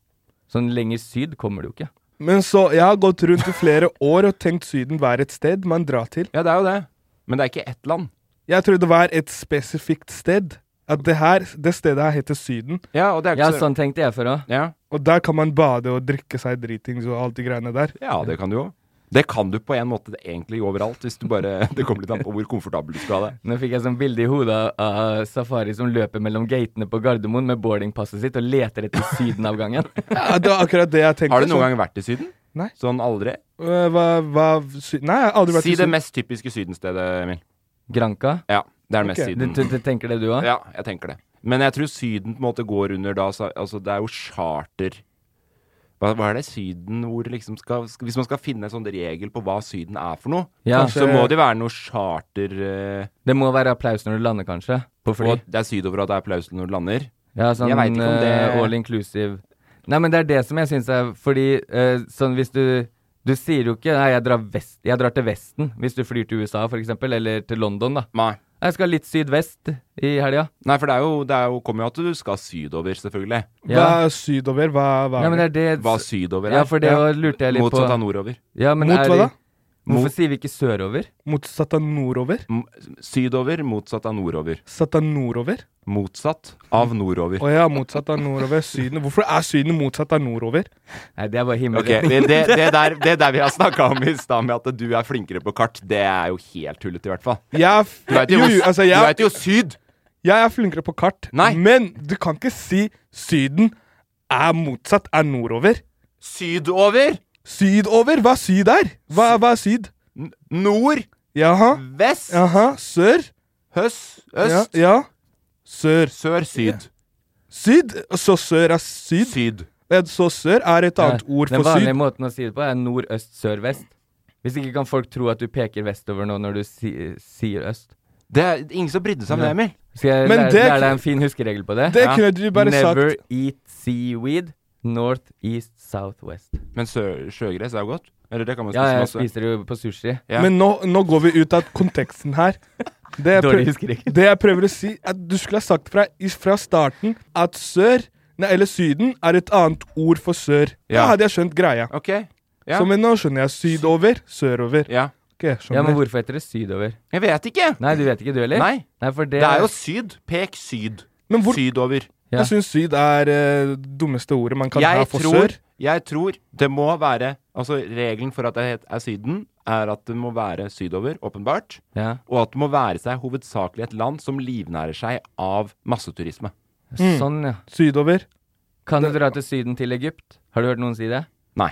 H: Sånn lenger syd kommer du jo ikke.
I: Men så, jeg har gått rundt i flere [LAUGHS] år og tenkt Syden var et sted man drar til.
G: Ja, det er jo det. Men det er ikke ett land.
I: Jeg trodde det var et spesifikt sted. At det her, det stedet her heter Syden.
G: Ja, og det er
H: Ja,
G: ikke
H: så- sånn tenkte jeg før òg.
I: Og der kan man bade og drikke seg dritings og alt de greiene der.
G: Ja, det kan du òg. Det kan du på en måte egentlig overalt, hvis du bare [LAUGHS] Det kommer litt an på hvor komfortabel du skal ha det.
H: Nå fikk jeg sånn bilde i hodet av av Safari som løper mellom gatene på Gardermoen med boardingpasset sitt og leter etter sydenavgangen.
G: [LAUGHS]
I: Ja, det var akkurat det jeg tenkte.
G: Har du noen gang
I: sånn.
G: vært i Syden?
I: Nei.
G: Sånn aldri?
I: Øh, Hva, hva sy Nei, jeg har aldri vært
G: Si
I: i
G: det
I: Syden.
G: mest typiske sydenstedet, Emil.
H: Granka?
G: Ja, det er
H: Ok.
G: det mest syden.
H: Du- du- du tenker det du òg?
G: Ja, jeg tenker det. Men jeg tror Syden på en måte går under da så- Altså, det er jo charter hva, hva er det Syden hvor liksom skal, skal Hvis man skal finne en sånn regel på hva Syden er for noe,
H: Ja.
G: så
H: Kanskje-
G: må det være noe charter eh,
H: Det må være applaus når du lander, kanskje? På fly.
G: Og at det er sydover at det er applaus når du lander.
H: Ja, sånn
G: jeg vet ikke om det
H: eh, all inclusive. Nei, men det er det som jeg syns er Fordi eh, sånn hvis du Du sier jo ikke Nei, jeg drar, vest, jeg drar til Vesten hvis du flyr til USA, for eksempel, eller til London, da.
G: Nei.
H: Jeg skal litt sydvest i helga.
G: Nei, for det er jo, det er jo, kommer jo at du skal sydover, selvfølgelig.
I: Hva er sydover? Hva, hva
H: Ja, men det er det
G: Hva sydover er.
H: Ja, for det var- lurte jeg litt på.
G: Motsatt av nordover.
H: Ja, men
I: Mot
H: er
I: hva
H: de-
I: da?
H: Hvorfor sier vi ikke sørover?
I: Motsatt av nordover?
G: Sydover motsatt av nordover.
I: Satt av nordover?
G: Motsatt av nordover.
I: Å ja, motsatt av nordover. Syden. Hvorfor er Syden motsatt av nordover?
H: Nei, det er bare himmelen.
G: Ok, det, det, det, der, det der vi har snakka om i stad, med at du er flinkere på kart, det er jo helt tullete, i hvert fall.
I: Jeg, er f-
G: Du
I: altså,
G: vet jo hvor- du vet jo syd.
I: Jeg er flinkere på kart, men du kan ikke si Syden er motsatt er nordover.
G: Sydover?
I: Sydover? Hva er syd er? Hva, hva er syd?
G: nord.
I: Jaha.
G: Vest.
I: Jaha. Sør.
G: Høst. Øst.
I: Ja. ja. Sør.
G: Sør, syd.
I: Syd? Så sør er syd?
G: Syd.
I: Så sør er et annet ord
H: Eh, Den
I: for syd.
H: vanlige måten å si det på er nord, øst, sør, vest. Hvis ikke kan folk tro at du peker vestover nå når du si, sier øst.
G: Det er ingen som brydde seg om det, Emil.
H: Skal jeg
G: Men
H: lære,
G: det-
H: lære deg en fin huskeregel på det?
G: det kunne du bare sagt.
H: Never eat seaweed. North, east, south, west.
G: Men sø, sjøgress er jo godt. Eller det kan man
H: Ja,
G: spise
H: jeg
G: masse.
H: spiser det jo på sushi.
G: Ja.
I: Men nå, nå går vi ut av konteksten her. Det jeg,
H: Dårlig
I: prøver, det jeg prøver å si, at du skulle ha sagt fra, i- fra starten at sør, nei, eller syden, er et annet ord for sør.
G: Ja.
I: Da hadde jeg skjønt greia.
G: Ok, ja.
I: Så men nå skjønner jeg. Sydover, sørover.
G: Ja.
H: Ja, men hvorfor heter det sydover?
G: Jeg vet ikke.
H: Nei, du vet ikke du heller?
G: Nei.
H: for det,
G: Det er jo syd. Pek syd. Sydover.
I: Jeg syns syd er det dummeste ordet man kan ha
G: jeg
I: for
G: tror,
I: sør.
G: jeg tror det må være Altså, regelen for at det het- er Syden, er at det må være sydover, åpenbart.
H: Ja.
G: Og at det må være seg hovedsakelig et land som livnærer seg av masseturisme.
I: Mm.
H: Sånn, ja.
I: Sydover.
H: Kan du dra til Syden, til Egypt? Har du hørt noen si det?
G: Nei.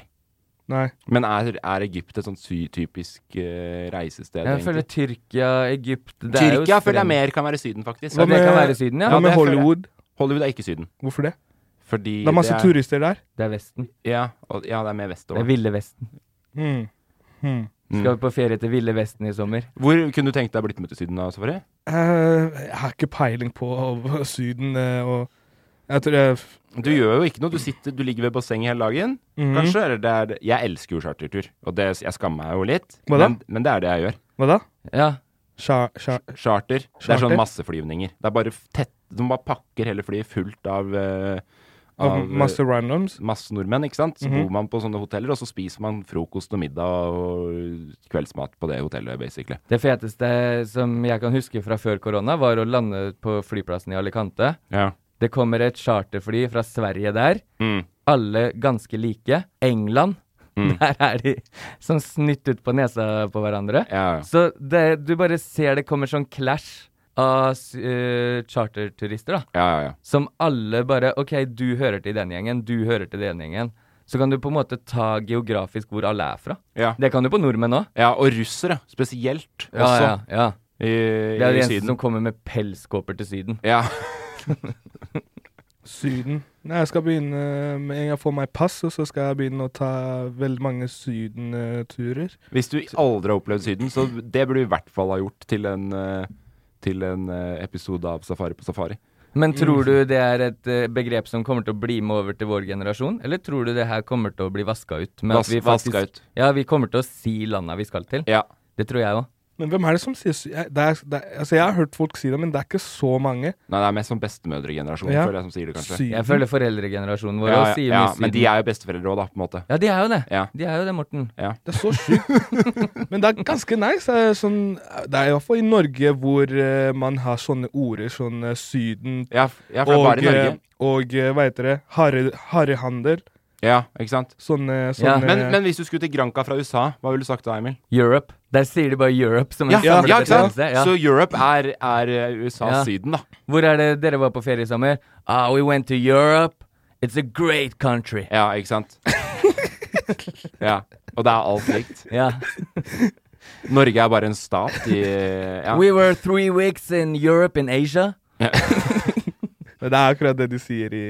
I: Nei.
G: Men er, er Egypt et sånt sy typisk eh, reisested,
H: Jeg føler Tyrkia, Egypt det er jo
G: Tyrkia føler jeg
H: streng-
G: mer kan være Syden, faktisk.
H: Ja, det kan være Syden, ja.
G: det
H: med
G: føler jeg.
H: Hollywood?
G: Hollywood er ikke Syden.
I: Hvorfor det?
G: Fordi
I: Det er masse turister der.
H: Det er Vesten.
G: Ja, og, ja det er mer vestover.
H: Det er Ville Vesten.
I: Mm. Mm.
H: Skal vi på ferie til Ville Vesten i sommer?
G: Hvor kunne du tenkt deg å blitt med til Syden da, Safari?
I: Eh, jeg har ikke peiling på av Syden eh, og Jeg tror jeg
G: Du gjør jo ikke noe. Du, sitter, du ligger ved bassenget hele dagen.
I: Mhm.
G: Kanskje eller det er det. Jeg elsker jo chartertur, og det, jeg skammer meg jo litt.
I: Hva da?
G: Men, men det er det jeg gjør.
I: Hva da?
H: Ja.
G: Charter. Det er
I: Charter?
G: sånn masseflyvninger. Det er bare f- tett De bare pakker hele flyet fullt av eh,
I: Av masse
G: eh,
I: randoms?
G: Masse nordmenn, ikke sant. Så
I: Mhm.
G: bor man på sånne hoteller, og så spiser man frokost og middag og kveldsmat på det hotellet, basically.
H: Det feteste som jeg kan huske fra før korona, var å lande på flyplassen i Alicante.
G: Ja.
H: Det kommer et charterfly fra Sverige der.
G: Mm.
H: Alle ganske like. England.
G: Mm.
H: [LAUGHS] Der er de sånn snytt ut på nesa på hverandre. Så det, du bare ser det kommer sånn clash av s- eh, charterturister, da.
G: Ja, ja, ja.
H: Som alle bare OK, du hører til den gjengen, du hører til den gjengen. Så kan du på en måte ta geografisk hvor alle er fra.
G: Ja.
H: Det kan du på nordmenn òg.
G: Ja, og russere spesielt
H: Ja,
G: også.
H: ja, ja.
G: I,
H: det er
G: i
H: de eneste
G: Syden.
H: som kommer med pelskåper til Syden.
G: Ja.
I: Syden. Nei, jeg skal begynne eh, med en gang jeg får meg pass, og så skal jeg begynne å ta veldig mange Syden-turer.
G: Hvis du aldri har opplevd Syden, så det burde du i hvert fall ha gjort til en, eh, til en eh, episode av Safari på safari.
H: Men tror du det er et eh, begrep som kommer til å bli med over til vår generasjon, eller tror du det her kommer til å bli vaska ut? med at
G: Vas-
H: vi faktisk-
G: vaska ut.
H: Ja, vi kommer til å si landa vi skal til. Det tror jeg òg.
I: Men hvem er det som sier Sy- jeg- det er, det er, Altså, jeg har hørt folk si det, men det er ikke så mange.
G: Nei, det er mest som bestemødregenerasjonen,
I: Ja.
G: føler jeg, som sier det, kanskje.
I: Syden.
H: Jeg føler foreldregenerasjonen vår
G: Mm. ja,
H: også
G: ja,
H: sier
G: ja,
H: mye Syden.
G: men de er jo besteforeldre òg, da, på en måte.
H: Ja, de er jo det.
G: Ja.
H: De er jo det, Morten.
G: Ja.
I: Det er så sjukt. [LAUGHS] Men det er ganske nice. Det er, sånn, det er i hvert fall i Norge hvor eh, man har sånne ord, sånn eh, Syden
G: Ja, f- ja, for det er bare i Norge.
I: eh, Og eh, hva heter det? Harre- Harrehandel.
G: Ja, ikke sant?
I: Sånne, sånne
G: Ja. Men, men hvis du skulle til Granca fra USA, hva ville du sagt da, Emil?
H: Europe. Der sier de bare Europe som en
G: Ja, ja,
H: samlet
G: ikke sant?
H: betegnelse, ja.
G: Så Europe er, er eh, USAs Syden, da.
H: Hvor er det dere var på ferie i sommer? Ah, we went to Europe. It's a great country.
G: Ja, ikke sant? [LAUGHS] ja. Og det er alt likt.
H: Ja.
G: Norge er bare en stat i ja.
H: We were three weeks in Europe and Asia.
I: Men det er akkurat det de sier i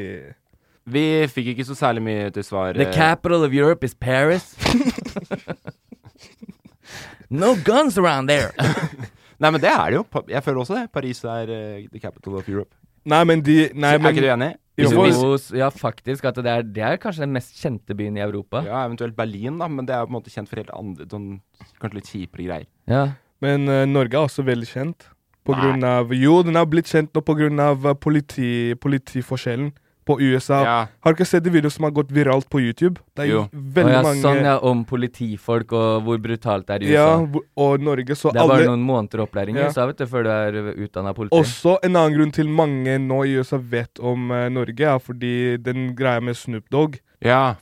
G: Vi fikk ikke så særlig mye til svar.
H: The
G: eh,
H: capital of Europe is
I: [LAUGHS]
H: Paris. no guns around there.
I: [LAUGHS]
G: Nei, men det er det jo. Pa- Jeg føler også det. Paris er eh, the capital of Europe.
I: Nei, men de nei,
G: Så er
I: men,
G: ikke du enig?
I: Jo,
H: Jo, s- ja, faktisk. At det, er, det er kanskje den mest kjente byen i Europa.
G: Ja, eventuelt Berlin, da, men det er jo på en måte kjent for helt andre sånn, Kanskje litt kjipere greier.
H: Ja.
I: men eh, Norge er også veldig kjent. På grunn av, jo, den har blitt kjent nå på grunn av eh, politi, politiforskjellen. på USA.
H: Ja.
I: Har du ikke sett de videoene som har gått viralt på YouTube? Det er jo
H: Å
I: veldig
H: ja,
I: mange
H: Sånn, ja, om politifolk og hvor brutalt det er i USA.
I: Ja, hvor- og Norge, så
H: det er bare
I: alle-
H: noen måneder opplæring i
I: Ja.
H: USA vet du, før du er utdanna politi.
I: Også en annen grunn til mange nå i USA vet om eh, Norge, er fordi den greia med Snoop Dogg.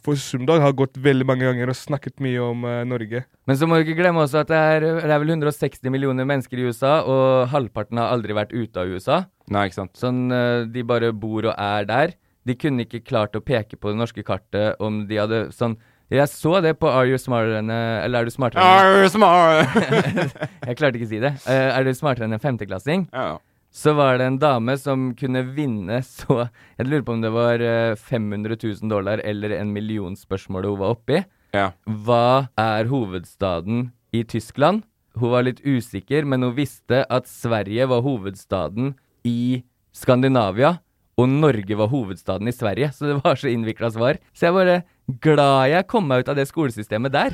I: For Snoop Dogg har gått veldig mange ganger og snakket mye om eh, Norge.
H: Men så må du ikke glemme også at det er, det er vel 160 millioner mennesker i USA, og halvparten har aldri vært ute av USA.
G: Nei, ikke sant.
H: Sånn, eh, De bare bor og er der. De kunne ikke klart å peke på det norske kartet om de hadde sånn Jeg så det på Are you smarter enn eh, Eller er du smartere
G: Are you smart-
H: Jeg klarte ikke å si det. Eh, Er du smartere enn en femteklassing?
G: [LAUGHS] Ja.
H: Så var det en dame som kunne vinne [LAUGHS] så Jeg lurer på om det var eh, 500 000 dollar eller en million spørsmål hun var oppi.
G: Ja.
H: Hva er hovedstaden i Tyskland? Hun var litt usikker, men hun visste at Sverige var hovedstaden i Skandinavia, og Norge var hovedstaden i Sverige, så det var så innvikla svar. Så jeg bare glad jeg kom meg ut av det skolesystemet der.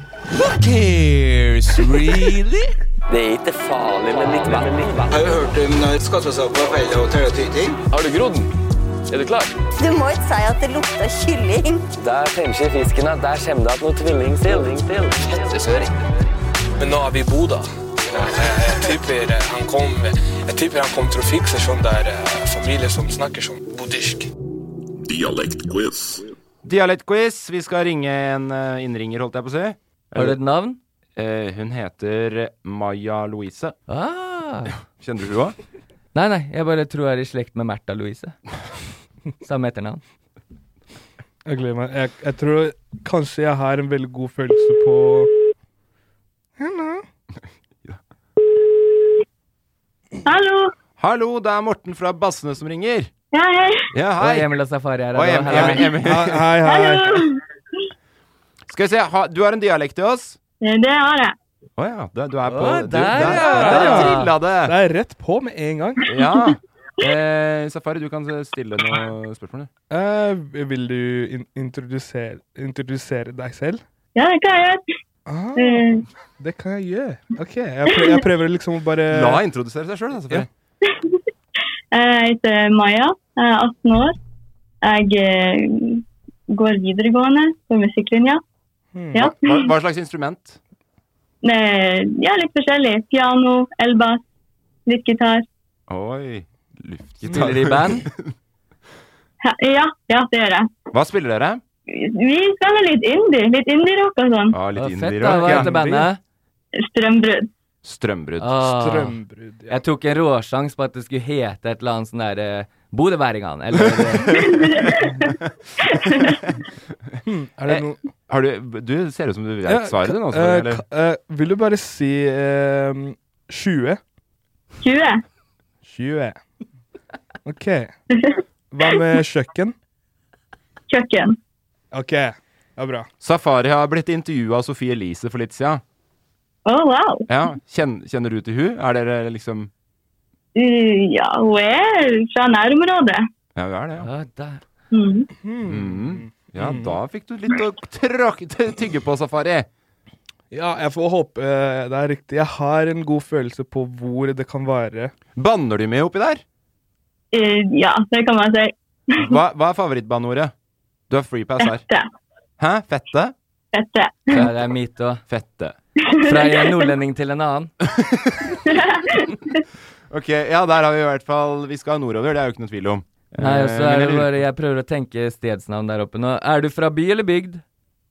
P: cares, [LAUGHS] really?
H: Det er ikke farlig, men litt vann.
P: Har du hørt om når skattesaker feiler og teller tyting? Har du grodd? Er du klar?
Q: Du må ikke si at det lukter kylling.
P: Der fremskjer fisken at der kommer det at noe tvilling til. Hettesøring. Men nå er vi i Bodø. Jeg tipper han kom, jeg tipper han kom til å fikse sånn der eh, familie som snakker sånn buddhisk. Dialektquiz.
G: Dialektquiz. Vi skal ringe en eh, innringer, holdt jeg på å si. Eh,
H: Har du et navn?
G: hun heter Maya Louise.
H: Ah.
G: Kjenner du henne? [LAUGHS]
H: Nei, nei, jeg bare tror jeg er i slekt med Märtha Louise. Samme etternavn.
I: Jeg gleder meg. Jeg, jeg tror kanskje jeg har en veldig god følelse på
G: Hallo. Hallo, det er Morten fra Bassene som ringer.
R: Ja, hei.
G: Ja, hei.
H: Og Emil og Safari er her
G: Og
H: nå.
G: Em-
H: Hallo.
G: Em- Emil. Skal vi se, ha, du har en dialekt til oss?
R: Eh, Det har jeg.
G: Å ja. det- Du er på
R: Å,
G: du,
R: der,
G: der,
R: ja.
G: der trilla det.
I: Det er rett på med en gang.
G: Ja. [LAUGHS] Eh, Safari, du kan stille noen spørsmål. du.
I: Eh, vil du in introdusere, introdusere deg selv?
R: Ja, det kan jeg gjøre.
I: Ah,
R: Eh.
I: det kan jeg gjøre. OK. Jeg prøver, jeg prøver liksom å bare
G: La henne introdusere seg sjøl, da. Safari.
R: Eh, Jeg heter Maja. Jeg er 18 år. Jeg eh, går videregående på musikklinja. Ja.
G: Hva, hva slags instrument?
R: Eh, Ja, litt forskjellig. Piano, elbass, litt gitar.
G: Oi. Luftgitar.
H: Spiller de i band?
R: Hæ, Ja, ja, det gjør jeg.
G: Hva spiller dere?
R: Vi spiller litt indie. Litt indie-rock og sånn.
G: Ah, litt
H: Fett,
G: indie
H: da. Hva heter bandet?
R: Strømbrudd.
G: Strømbrudd.
H: Ah. Jeg tok en råsjans på at det skulle hete et eller annet sånn derre Bodøværingan,
G: [LAUGHS]
H: eller
I: Er det noe
G: Har du, du ser ut som du
I: Ja,
G: vet svaret, du nå.
I: ka-
G: Safari,
I: eh,
G: altså, eller?
I: ka- eh, vil du bare si eh, 20?
R: 20.
I: 20. OK. Hva med kjøkken?
R: Kjøkken.
I: OK. Ja, bra.
G: Safari har blitt intervjua av Sofie Elise for litt siden.
R: Oh, wow.
G: Ja, kjen, kjenner du til hun? Er dere liksom
R: Uh, Ja, hun er fra nærområdet.
G: Ja, hun er det, ja.
R: Mm.
G: Mm. Ja, da fikk du litt å tråk- t- tygge på, Safari.
I: Ja, jeg får håpe eh, det er riktig. Jeg har en god følelse på hvor det kan være.
G: Banner du mye oppi der?
R: Eh, Ja, det kan man si.
G: Hva, hva er favorittbaneordet? Du har freepass her.
R: Fette.
G: Hæ? Fette?
R: Fette.
H: Ja, det er mitt òg.
G: Fette.
H: Fra en nordlending til en annen.
G: Ok, ja, der har vi i hvert fall Vi skal nordover, det er jo ikke noe tvil om.
H: Nei, og så
G: Eh,
H: er det
G: men jeg lurer-
H: bare Jeg prøver å tenke stedsnavn der oppe nå. Er du fra by eller bygd?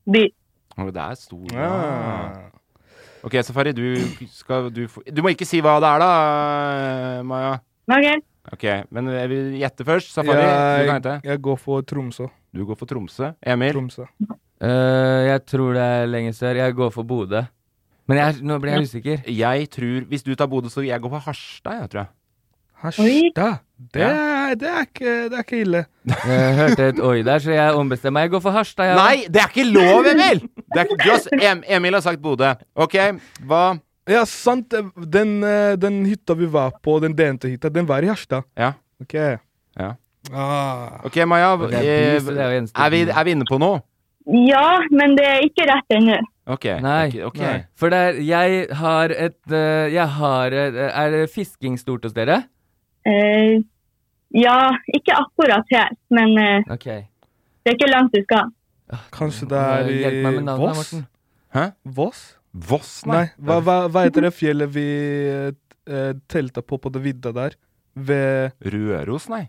R: By.
G: Å, det er stor
I: Ah.
G: ja.
I: Ja.
G: Ok, Safari, du skal du, få- du må ikke si hva det er, da, Maja.
R: Ok.
G: Ok, men jeg vil gjette først. Safari, du kan
I: jeg,
G: gjette.
I: jeg går for Tromsø.
G: Du går for Tromsø. Emil?
I: Tromsø.
H: Eh, jeg tror det er lenger sør. Jeg går for Bodø. Men jeg, nå ble jeg usikker.
G: Jeg tror Hvis du tar Bodø, så jeg går for Harstad, jeg tror jeg.
I: Harstad. Det,
H: Ja.
I: er- det, er ikke, det er ikke ille.
H: Jeg Eh, hørte et oi der, så jeg ombestemmer meg. Jeg går for Harstad. Jeg,
G: Nei, det er ikke lov, Emil! Det er, ikke- du har, s- em, Emil har sagt Bodø. OK, hva
I: Ja, sant. Den, eh, den hytta vi var på, den DNT-hytta, den var i Harstad.
G: Ja.
I: OK.
G: Ja.
I: Ah.
G: OK, Maja.
I: Det
G: eh,
I: er by, så det er jo eneste
G: Er vi, er vi inne på noe?
R: Ja, men det er ikke rett ennå.
G: OK. ok, ok.
H: Nei. For det er Jeg har et eh, Jeg har eh, Er det fisking stort hos dere?
R: Eh, Ja, ikke akkurat her, men eh,
H: OK.
R: det er ikke langt du skal.
I: Kanskje det er i
H: Hjelp meg med navnet,
I: Voss?
H: Morten.
I: Hæ? Voss?
G: Voss,
I: nei.
H: nei.
I: Hva, hva, hva heter det fjellet vi eh, telta på på det vidda der? Ved
G: Røros, nei.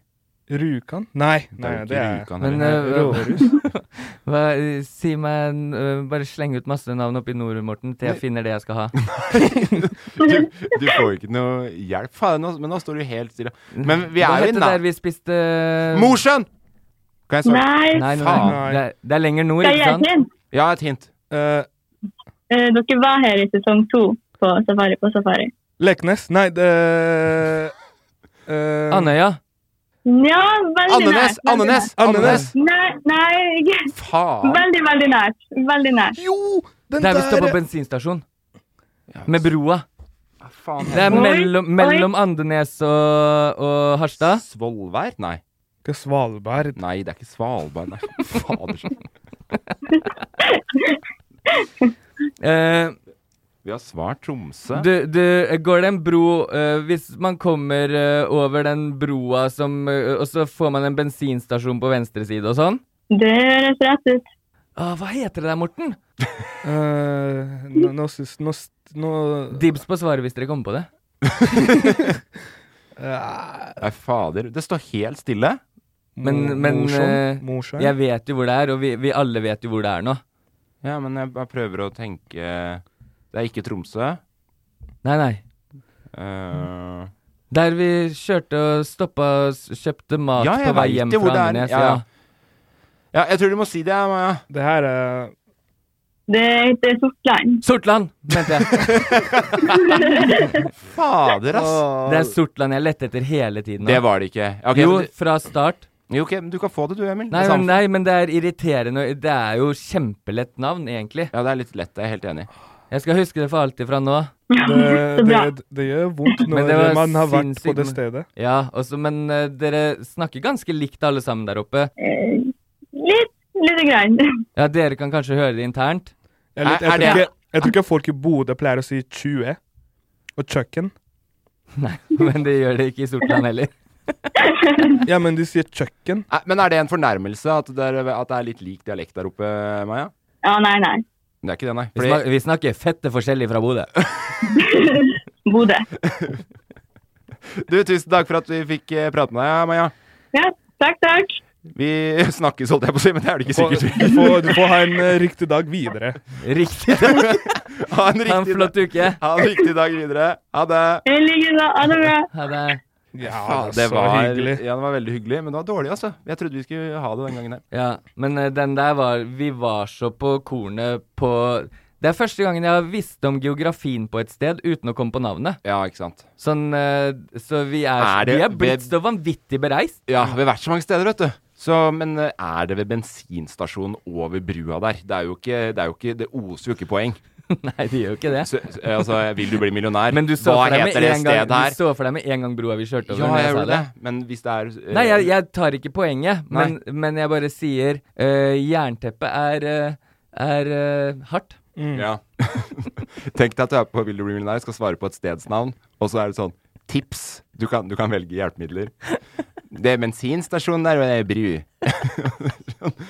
I: Rjukan? Nei,
G: Det er
I: nei,
G: jo ikke
I: det er
G: Rjukan
H: Men
I: Nei,
H: eh,
I: Rårus.
H: hva, si meg en, eh, Bare sleng ut masse navn oppi nord, Morten, til jeg finner det jeg skal ha.
G: [LAUGHS] Du får jo ikke noe hjelp. Faen, nå, men nå står du helt stille. Men vi
H: Hva
G: er jo i
H: het det der
G: nærheten.
H: vi spiste eh,
G: Mosjøen! Kan jeg svare?
R: Nei.
H: Nei, nei,
G: Faen.
H: nei. Det, er- det er lenger nord,
R: Skal jeg
H: ikke
R: gi et
H: sant?
R: hint?
G: Ja, et hint.
R: Eh, dere var her i sesong to på Safari på Safari.
I: Leknes? Nei, eh, det
H: Andøya?
R: Ja, veldig
G: Andenes,
R: nært. veldig
G: Andenes,
R: nært.
G: Andenes.
R: Nei, nei.
G: Faen.
R: Veldig, veldig nært. Veldig nært.
I: Jo,
H: Der vi
G: eh,
H: står på bensinstasjon. Med
G: altså.
H: broa. Det er
I: Oi,
H: mellom,
I: oi.
H: mellom Andenes og, og Harstad.
G: Svolvær? Nei.
I: Ikke Svalbard?
G: Nei, det er ikke Svalbard. Nei, [LAUGHS] fader sånn.
H: Eh,
G: Vi har svart Tromsø.
H: Du, du, går det en bro eh, Hvis man kommer eh, over den broa som eh, Og så får man en bensinstasjon på venstre side og sånn?
R: Det høres rett ut.
H: Ah, hva heter det der, Morten?
I: Eh, nå, nå syns Nå, s- nå
H: Dibs på svaret hvis dere kommer på det.
G: Nei, fader. Det står helt stille.
H: Men, men eh,
G: Sånn, Mosjøen?
H: jeg vet jo hvor det er, og vi, vi alle vet jo hvor det er nå.
G: Ja, men jeg bare prøver å tenke Det er ikke Tromsø.
H: Nei, nei.
G: Eh,
H: Der vi kjørte og stoppa og s- kjøpte mat
G: ja,
H: på
G: jeg
H: vei
G: veit
H: hjem
G: jo hvor
H: fra
G: det er.
H: Andenes.
G: Ja, ja. ja, jeg tror du må si det, Maja.
I: Det her er
R: Det heter Sortland.
H: Sortland, mente
G: [LAUGHS]
H: jeg.
G: Fader, ass.
H: Det er Sortland jeg lette etter hele tiden. nå.
G: Det var det ikke. Ok,
H: jo,
G: men du-
H: fra start.
G: Jo, ok, men Du kan få det, du, Emil.
H: Nei
G: Det
H: men,
G: samme-
H: nei, men det er irriterende. og Det er jo kjempelett navn, egentlig.
G: Ja, det er litt lett. Jeg er helt enig.
H: Jeg skal huske det for alltid fra nå. [LAUGHS]
I: det, det, det gjør vondt
H: Men
I: når
H: det var
I: man har vært på
H: sinnssykt
I: det
H: med-
I: stedet.
H: Ja, også, men eh, dere snakker ganske likt alle sammen der oppe.
R: Eh, litt, lite grann. [LAUGHS]
H: Ja, dere kan kanskje høre det internt. [LAUGHS]
I: Jeg, er litt, jeg, tror ikke, jeg tror ikke folk i Bodø pleier å si 20 og kjøkken.
H: Nei, men det gjør det ikke
R: [LAUGHS]
H: i Sortland heller.
I: ja, men de sier kjøkken.
G: Nei, Men er det en fornærmelse at det er, at det er litt lik dialekt der oppe, Maja?
R: Ja, nei, nei.
G: Det er ikke det, nei.
H: Vi, snak, vi snakker fette forskjellig fra Bodø.
R: Bodø.
G: Du, tusen takk for at vi fikk eh, prate med deg, Maja.
R: Ja, takk, takk.
G: Vi [LAUGHS] snakkes, holdt jeg på å si, men det er det ikke sikkert.
I: Du får, du får ha en eh, riktig dag videre.
H: [LAUGHS] Riktig
I: dag.
G: [LAUGHS] ha en riktig
H: flott uke.
G: Ha en riktig dag videre. Ha det.
R: I like måte. Ha det bra.
H: Ha det.
G: [LAUGHS] Ja, det
I: altså,
G: var, Ja, det var veldig hyggelig, men det var dårlig, altså. Jeg trodde vi skulle ha det den gangen der.
H: Ja, men eh, den der var Vi var så på kornet på Det er første gangen jeg har visst om geografien på et sted uten å komme på navnet.
G: Ja, ikke sant.
H: Sånn eh, Så vi er,
G: Er det
H: Vi er blitt
G: ved-
H: så vanvittig bereist. [LAUGHS]
G: Ja, vi har vært så mange steder, vet du. Så, men eh, er det ved bensinstasjonen over brua der? Det er jo ikke Det, er jo ikke, det oser jo ikke poeng.
H: Nei, det gjør jo ikke det.
G: Så, så, altså, vil du bli millionær?
H: Men du så
G: Hva
H: for deg med
G: heter det
H: en gang,
G: stedet her?
H: Du så for deg med en gang broa vi kjørte over.
G: Ja,
H: når
G: jeg
H: sa
G: gjorde det. Men hvis det er eh,
H: Nei, jeg, jeg tar ikke poenget, men, men jeg bare sier eh, jernteppet er, eh, er eh, hardt.
G: Ja. [LAUGHS] Tenk deg at du er på Will you be millionaire, skal svare på et stedsnavn, og så er det sånn tips. Du kan, du kan velge hjelpemidler. Det er bensinstasjonen der, og det er bru.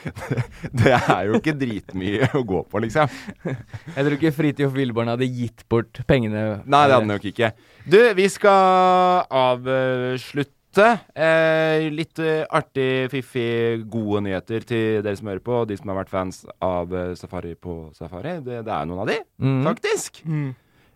G: [LAUGHS] det er jo ikke dritmye å gå på, liksom.
H: Jeg tror ikke Fridtjof Wilborn hadde gitt bort pengene. eh,
G: Nei, det hadde den nok ikke. Du, vi skal avslutte. Eh, litt eh, artig, fiffig, gode nyheter til dere som hører på, og de som har vært fans av eh, Safari på Safari. Det, det er noen av de,
H: Mhm.
G: faktisk.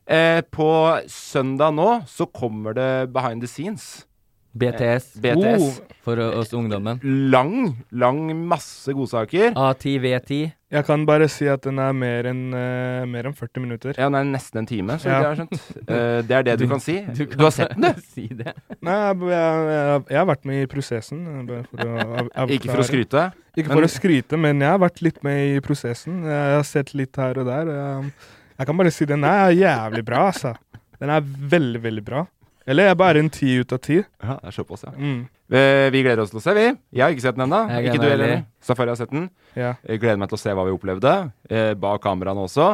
G: Eh, på søndag nå så kommer det Behind the Scenes.
H: BTS.
G: Eh, BTS.
H: For eh, oss ungdommen.
G: Lang, lang masse godsaker.
H: A10, V10.
I: Jeg kan bare si at den er mer enn eh, mer enn 40 minutter.
G: Ja, den er nesten en time, så
I: Ja.
G: vidt jeg har skjønt. Eh, det er det du,
I: Du-
G: kan si.
I: du
G: Du,
I: kan
G: har sett den,
H: [LAUGHS]
G: du.
H: [LAUGHS] Si det.
I: Nei, jeg, jeg, jeg har vært med i prosessen. eh, Bare for å av- avklare.
G: [LAUGHS] Ikke for å skryte,
I: Ikke
G: men-
I: for å skryte, men jeg har vært litt med i prosessen. Jeg har sett litt her og der. og Jeg, jeg kan bare si den er jævlig bra, altså. Den er veldig, veldig bra. Eller jeg er bare en ti ut av ti.
G: Ja, det er såpass, ja.
I: Mm.
G: Eh, Vi gleder oss til å se, vi. Jeg har ikke sett den ennå.
I: Jeg
G: Ikke du
I: gleder meg
G: heller.
I: heller.
G: Safari har sett den.
I: Ja.
G: Jeg gleder meg til å se hva vi opplevde. eh, Bak kameraene også.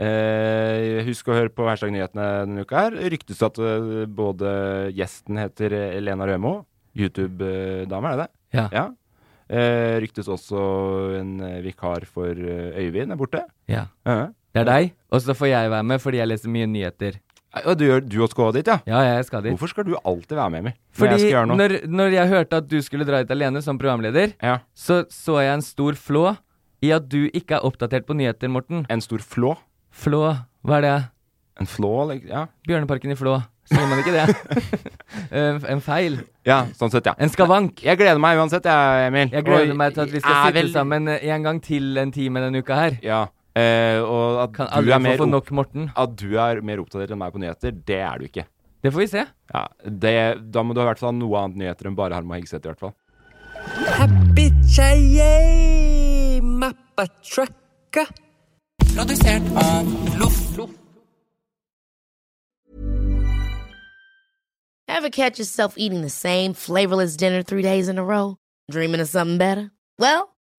G: Eh, husk å høre på Hashtag nyhetene denne uka her. Ryktes at eh, både gjesten heter Lena Rømo, YouTube-dame, er det det?
H: Ja.
G: Eh, ryktes også en eh, vikar for eh, Øyvind er borte.
H: Ja.
G: Ja.
H: Det er deg, og så får jeg være med fordi jeg leser mye nyheter.
G: Og du, du også skal dit, ja?
H: Ja, jeg skal dit.
G: Hvorfor skal du alltid være med, Emil?
H: Fordi
G: jeg skal gjøre noe?
H: når, når jeg hørte at du skulle dra ut alene som programleder, så så jeg en stor flå i at du ikke er oppdatert på nyheter, Morten.
G: En stor flå?
H: Flå. Hva er det?
G: En flå, liksom? Ja.
H: Bjørneparken i Flå. Sier man ikke
G: [LAUGHS]
H: det? en, en feil.
G: Ja, sånn sett, ja.
H: En skavank.
G: Jeg gleder meg uansett, jeg, Emil.
H: Jeg gleder
G: Og
H: meg til at vi
G: jeg
H: skal
G: er
H: sitte
G: vel-
H: sammen en gang til en time denne uka her.
G: Ja. Eh, og at
H: Kan
G: du,
H: aldri
G: er
H: få
G: mer
H: få
G: opp-
H: nok, Morten.
G: at du er mer oppdatert enn meg på nyheter, det er du ikke.
H: Det får vi se.
G: Ja, det, da må du i hvert fall ha sånn noe annet nyheter enn bare Harm og Hegseth, i hvert fall.
S: Bitcha yay, mappa trucka. Produsert av Loff.
T: Ever catch yourself eating the same flavorless dinner three days in a row? Dreaming of something better? Well,